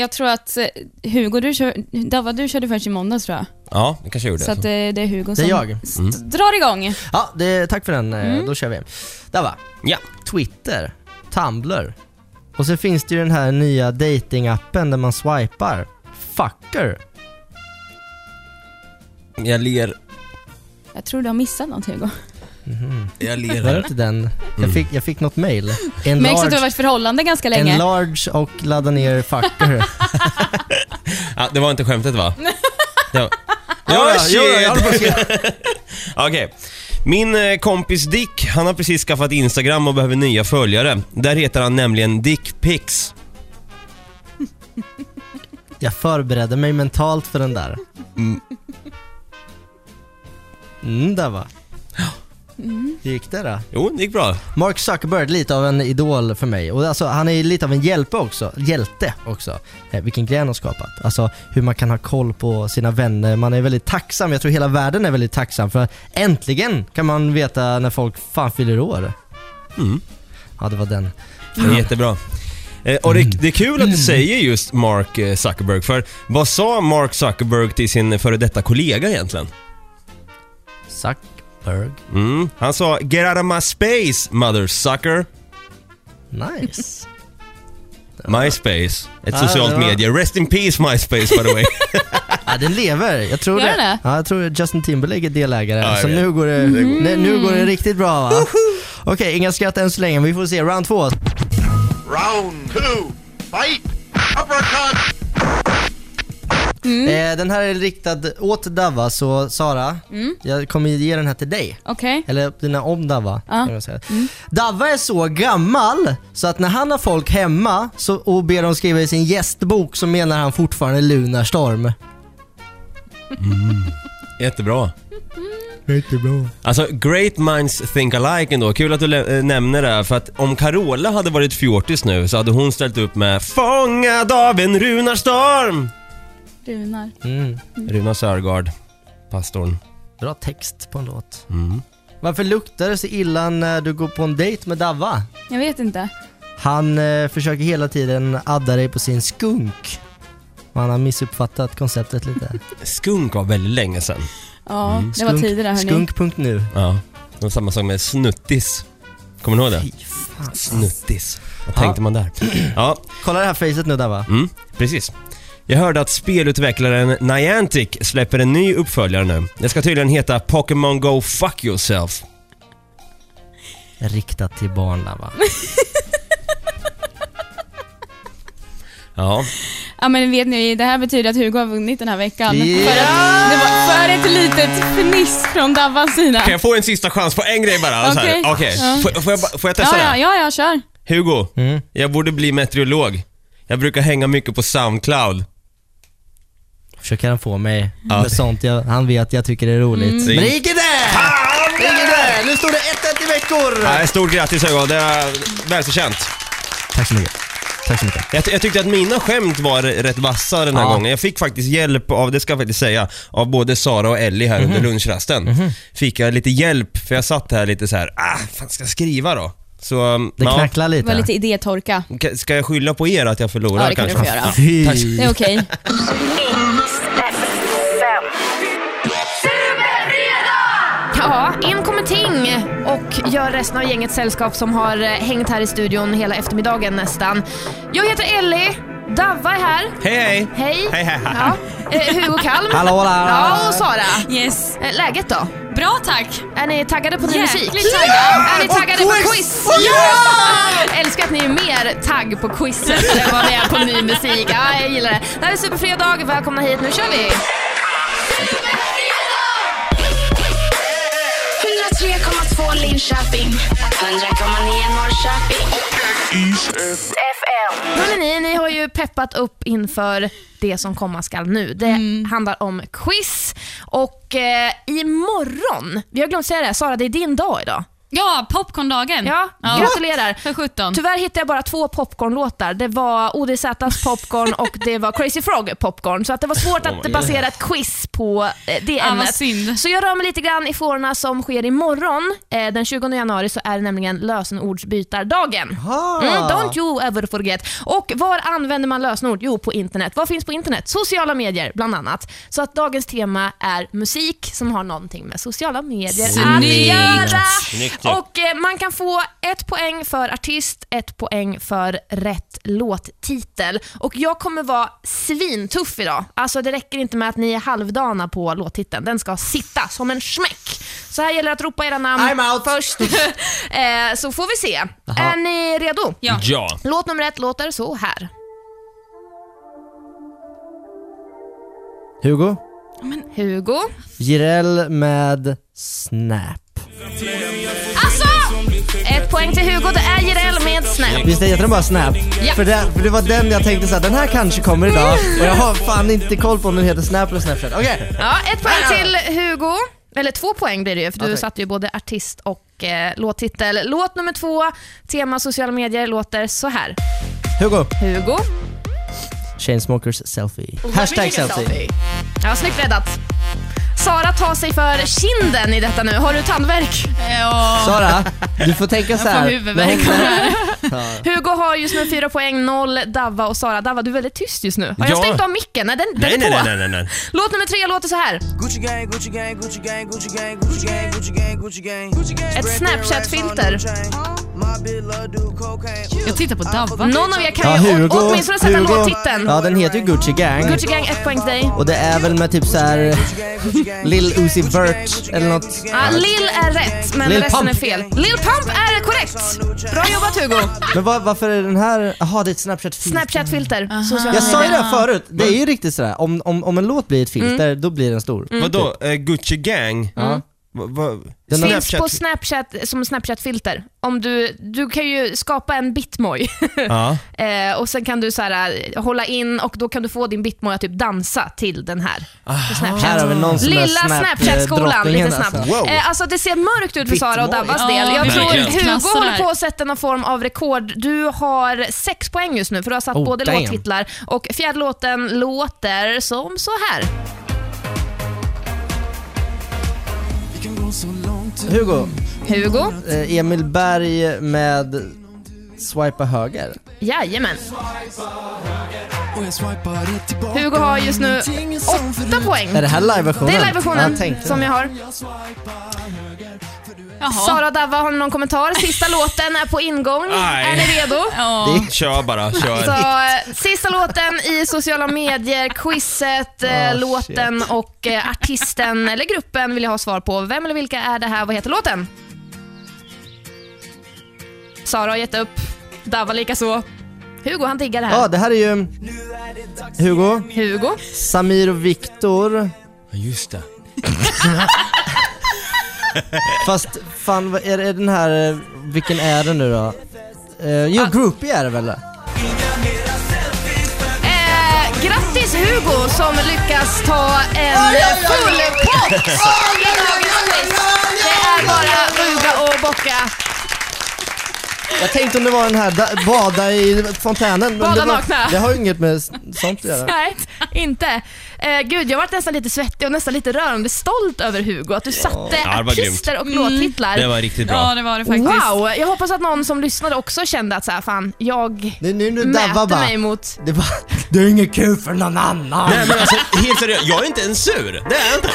S2: jag tror att eh, Hugo, du kör, Dava, du körde först i måndags tror jag.
S5: Ja, det kanske jag gjorde.
S2: Så att eh, det är Hugo
S1: Det
S2: som
S1: är jag. Mm.
S2: st- drar igång.
S1: Ja, det, tack för den. Eh,
S2: Mm.
S1: Då kör vi. Dava.
S5: Ja.
S1: Twitter, Tumblr och så finns det ju den här nya datingappen där man swipar. Fucker.
S5: Jag ler.
S2: Jag tror du har missat något Hugo.
S5: Jag
S1: Var det inte den? Jag fick, jag fick något mail. En
S2: Märks att du har
S1: large,
S2: varit i förhållande ganska länge.
S1: en large och ladda ner fucker.
S5: Ja, det var inte skämtet va? Det var...
S1: Ja,
S5: Ja,
S1: ja,
S5: shit!
S1: ja, jag håller på att skriva.
S5: Okej. Min eh, kompis Dick, han har precis skaffat Instagram och behöver nya följare. Där heter han nämligen Dickpix.
S1: Jag förberedde mig mentalt för den där.
S5: Mm.
S1: Mm, där va.
S12: Mm.
S1: Hur gick det då?
S5: Jo, det gick bra.
S1: Mark Zuckerberg, lite av en idol för mig. Och alltså, han är lite av en hjälpe också. hjälte också. Eh, vilken grej han har skapat. Alltså hur man kan ha koll på sina vänner. Man är väldigt tacksam. Jag tror hela världen är väldigt tacksam för äntligen kan man veta när folk fan fyller år.
S5: Mm.
S1: Ja, det var den.
S5: Det är jättebra. Eh, och
S1: Mm.
S5: det, det är kul att du säger just Mark eh, Zuckerberg, för vad sa Mark Zuckerberg till sin före detta kollega egentligen?
S1: Zuckerberg.
S5: Mm. Han sa “Get out of my space, mother sucker”.
S1: Nice.
S5: MySpace, ett
S1: Ja,
S5: socialt
S1: det var-
S5: medie. Rest in peace MySpace by the way.
S1: Ja, den lever. Jag tror
S2: Gör den det?
S1: Ja, jag tror Justin Timberlake är delägare.
S5: Ja, jag
S1: så
S5: vet.
S1: nu går, det,
S5: Mm.
S1: nu, nu går det riktigt bra va? Okej, inga skratt än så länge. Vi får se. Round två.
S14: Round two, fight! Uppercut!
S1: Eh, den här är riktad åt Dava, så Sara,
S2: Mm.
S1: jag kommer ge den här till dig.
S2: Okej.
S1: Eller dina om Dava.
S2: Ja. Mm.
S1: kan man säga. Dava är så gammal så att när han har folk hemma så, och ber dem skriva i sin gästbok så menar han fortfarande Lunarstorm.
S5: Jättebra.
S1: Jättebra.
S5: Alltså, great minds think alike ändå. Kul att du lä- eh, nämner det, här, för att om Carola hade varit fjortis nu så hade hon ställt upp med “Fångad av en runarstorm”.
S2: Runar.
S1: Mm.
S5: Runa Sörgard, pastorn.
S1: Bra text på en låt.
S5: Mm.
S1: Varför luktar det så illa när du går på en dejt med Dava?
S2: Jag vet inte.
S1: Han eh, försöker hela tiden adda dig på sin skunk. Och Han har missuppfattat konceptet lite.
S5: Skunk var väldigt länge sedan.
S2: Ja, det var
S1: Mm. Skunk-
S2: tider där hörni.
S1: Skunk.nu.
S5: Ja. Det var samma sak med snuttis. Kommer ni ihåg det? Snuttis. Vad tänkte man där? Ja.
S1: Kolla det här facet nu Dava.
S5: Mm, precis. Jag hörde att spelutvecklaren Niantic släpper en ny uppföljare nu. Det ska tydligen heta Pokémon Go Fuck Yourself.
S1: Riktat till barn Dava.
S5: Ja.
S2: Ja men vet ni, det här betyder att Hugo har vunnit den här veckan.
S5: Yeah!
S2: För, att, det var för ett litet fniss från Davvas sida.
S5: Kan jag få en sista chans på en grej bara? Så här,
S2: Okej.
S5: okej.
S2: Ja.
S5: Får, får, jag, bara- får jag testa
S2: ja,
S5: det
S2: ja,
S5: här?
S2: ja, ja, kör.
S5: Hugo,
S1: Mm.
S5: jag borde bli meteorolog. Jag brukar hänga mycket på Soundcloud.
S1: Försöker han få mig
S5: Ja.
S1: med sånt jag, han vet jag tycker det är roligt.
S5: Mm.
S1: Men det gick inte! Det gick inte! Nu står det 1-1 i veckor!
S5: Nej, stort grattis Hugo, det är välförtjänt.
S1: Tack så mycket. Tack så mycket.
S5: Jag, ty- jag tyckte att mina skämt var rätt vassa den här
S1: Ja.
S5: gången. Jag fick faktiskt hjälp av, det ska jag faktiskt säga, av både Sara och Ellie här
S1: Mhm.
S5: under lunchrasten. Fick jag lite hjälp, för jag satt här lite så här, ah, fan ska jag skriva då? Så, um,
S1: Det
S5: ja.
S1: knacklar
S2: Det var lite
S1: lite.
S2: idétorka.
S5: Ka- Ska jag skylla på er att jag förlorar
S2: Ja, det kan
S5: kanske?
S2: du få göra.
S5: Ja, tack.
S2: Det är okej.
S8: Ja, in kommer Ting och gör resten av gänget sällskap som har eh, hängt här i studion hela eftermiddagen nästan. Jag heter Ellie, Davva är här.
S5: Hej hej!
S8: Hej.
S5: hej, hej.
S8: Ja. Eh, Hugo Kalm.
S5: Hallå, hallå.
S8: Ja, och Sara.
S11: Yes.
S8: Eh, Läget då?
S11: Bra tack.
S8: Är ni taggade på ny
S11: Jäkligt
S8: musik?
S11: taggade.
S8: Ja! Är ni
S11: Och
S8: taggade på
S11: quiz.
S8: quiz?
S11: Ja!
S8: Älskar att ni är mer tagg på quizet än vad ni är på ny musik. Ja, jag gillar det. Det här är Superfredag. Välkomna hit. Nu kör vi!
S16: 103,2 Linköping. 100,9 Norrköping.
S8: Hörrni, ni har ju peppat upp inför det som komma skall nu. Det handlar om quiz. Och eh, imorgon, vi har glömt säga det, här, Sara det är din dag idag.
S11: Ja, popcorndagen.
S8: Ja, gratulerar.
S11: För 17.
S8: Tyvärr hittade jag bara två popcornlåtar. Det var ODZs popcorn och det var Crazy Frog popcorn. Så att det var svårt
S11: Oh my
S8: att
S11: God.
S8: basera ett quiz på eh, det
S11: Ja, vad
S8: ämnet.
S11: synd.
S8: Så jag rör mig lite grann i fårorna som sker imorgon. Eh, den 20 januari så är det nämligen lösenordsbytardagen. Mm, don't you ever forget. Och var använder man lösenord? Jo, på internet. Vad finns på internet? Sociala medier bland annat. Så att dagens tema är musik som har någonting med sociala medier att göra.
S14: Snyggt!
S8: Och eh, man kan få ett poäng för artist, ett poäng för rätt låttitel. Och jag kommer vara svintuff idag. Alltså det räcker inte med att ni är halvdana på låttiteln. Den ska sitta som en smäck. Så här gäller det att ropa era namn
S1: I'm out.
S8: först. eh, så får vi se.
S1: Jaha.
S8: Är ni redo?
S5: Ja. Ja.
S8: Låt nummer ett låter så här.
S1: Hugo?
S8: Hugo.
S1: Jireel med Snap.
S8: Alltså! Ett poäng till Hugo. Det är Jireel med Snap.
S1: Visst heter den bara Snap?
S8: Ja.
S1: För, det, för det var den jag tänkte såhär, den här kanske kommer idag och jag har fan inte koll på om den heter Snap eller Snapchat. Okej!
S8: Ja, ett poäng till Hugo. Eller två poäng blir det ju, för
S1: Ja,
S8: du
S1: tack.
S8: satte ju både artist och eh, låttitel. Låt nummer två, tema sociala medier, låter så här.
S1: Hugo!
S8: Hugo.
S1: Chainsmokers selfie. Hashtag selfie.
S8: Ja, snyggt räddat. Sara tar sig för kinden i detta nu. Har du tandvärk? Ja.
S1: Sara, du får tänka så här.
S8: Jag får huvudvärk
S1: Nej,
S8: av det
S1: nej.
S8: Hugo har just nu fyra poäng, noll Davva och Sara. Davva, du är väldigt tyst just nu. Har jag
S5: Ja.
S8: stängt av micken? Nej, den, den
S5: Nej,
S8: är
S5: nej,
S8: på.
S5: nej, nej, nej, nej.
S8: Låt nummer tre låter så här.
S14: Gucci gang, Gucci gang, Gucci gang, Gucci gang, Gucci gang, Gucci gang, Gucci gang, Gucci gang.
S8: Ett Snapchat-filter.
S14: Jag tittar på Davva.
S8: Någon av er
S1: Ja,
S8: kan ju
S1: Hugo,
S8: åt- åtminstone sätta
S1: Hugo.
S8: låttiteln.
S1: Ja, den heter ju Gucci Gang.
S8: Gucci Gang, ett poäng till dig.
S1: Och det är väl med typ så här Lil Uzi Vert eller något.
S8: Ja, Ah, Lil är rätt, men
S1: Lil
S8: resten
S1: Pump.
S8: är fel. Lil Pump är korrekt. Bra jobbat Hugo.
S1: Men va- varför är den här, jaha det är ett snapchat filter
S8: Snapchat-filter. sociala
S1: Jag sa ju det
S8: medier.
S1: här förut, det är ju riktigt sådär, om, om, om en låt blir ett filter, då blir den stor.
S8: Mm.
S5: Vadå, eh, Gucci Gang?
S1: Ja.
S5: Va, va,
S1: Den har-
S8: Finns
S1: Snapchat-
S8: på Snapchat som Snapchat-filter. Om du, du kan ju skapa en bitmoj
S5: Ja.
S8: eh, och sen kan du så här, eh, hålla in och då kan du få din bitmoj att typ dansa till den här. På Snapchat.
S1: Här har vi någon som är
S8: Lilla
S1: Snap- eh,
S8: Snapchat-skolan,
S1: drottningen
S8: lite snabbt.
S1: alltså. Wow.
S8: Eh, alltså det ser mörkt ut för Sara och
S1: Bitmoj.
S8: Davvas
S1: Ja,
S8: del. Jag tror
S1: verkligen.
S8: Hugo
S2: Klassar
S8: håller
S2: här.
S8: på att sätta någon form av rekord. Du har sex poäng just nu för du har satt
S1: Oh,
S8: både
S1: damn.
S8: låttitlar och fjärde låten låter som så här.
S1: Hugo,
S8: Hugo?
S1: eh, Emil Berg med Swipa höger.
S8: Jajamän. Hugo har just nu åtta poäng.
S1: Är det här liveversionen?
S8: Det är liveversionen
S1: Ja, tänkte
S8: som
S1: det.
S8: jag har. Sara Davva, har ni någon kommentar? Sista låten är på ingång.
S5: Nej.
S8: Är ni redo?
S5: Det- Kör bara, kör.
S8: Så, eh, sista låten i sociala medier, quizet, eh,
S5: Ah,
S8: låten och eh, artisten eller gruppen vill jag ha svar på. Vem eller vilka är det här? Vad heter låten? Sara har gett upp. Davva likaså. Hugo han diggar det här.
S1: Ja, det här är ju Hugo,
S8: Hugo.
S1: Samir och Viktor.
S5: Just det.
S1: Fast fan, vad är, är den här, eh, vilken är det nu då? Eh,
S8: Ah.
S1: jo, Groupie är det väl?
S8: Eh, grattis Hugo som lyckas ta
S14: Oj,
S8: en
S14: oj, oj, oj,
S8: full
S14: oj.
S8: pott
S14: Oj,
S8: i dagens quiz. Det är bara ruga och bocka.
S1: Jag tänkte om det var den här, da, bada i fontänen. men
S8: Bada
S1: det var,
S8: nakna.
S1: Det har ju inget med s- sånt att göra.
S8: Nej, inte. Eh, gud, jag varit nästan lite svettig och nästan lite rörande stolt över Hugo. Att du satte
S5: Ja, det var
S8: artister och
S14: Mm.
S5: grymt.
S8: låttitlar.
S5: Det var riktigt bra. Ja, det
S2: var det
S5: faktiskt.
S8: Wow, jag hoppas att någon som lyssnade också kände att så här, fan, jag
S1: nu, nu, nu,
S8: mäter
S1: Dabba bara.
S8: mig mot...
S1: Det var, det är inget kul för någon annan.
S5: Nej men alltså, helt seriöst, jag är inte ens sur. Det är jag inte.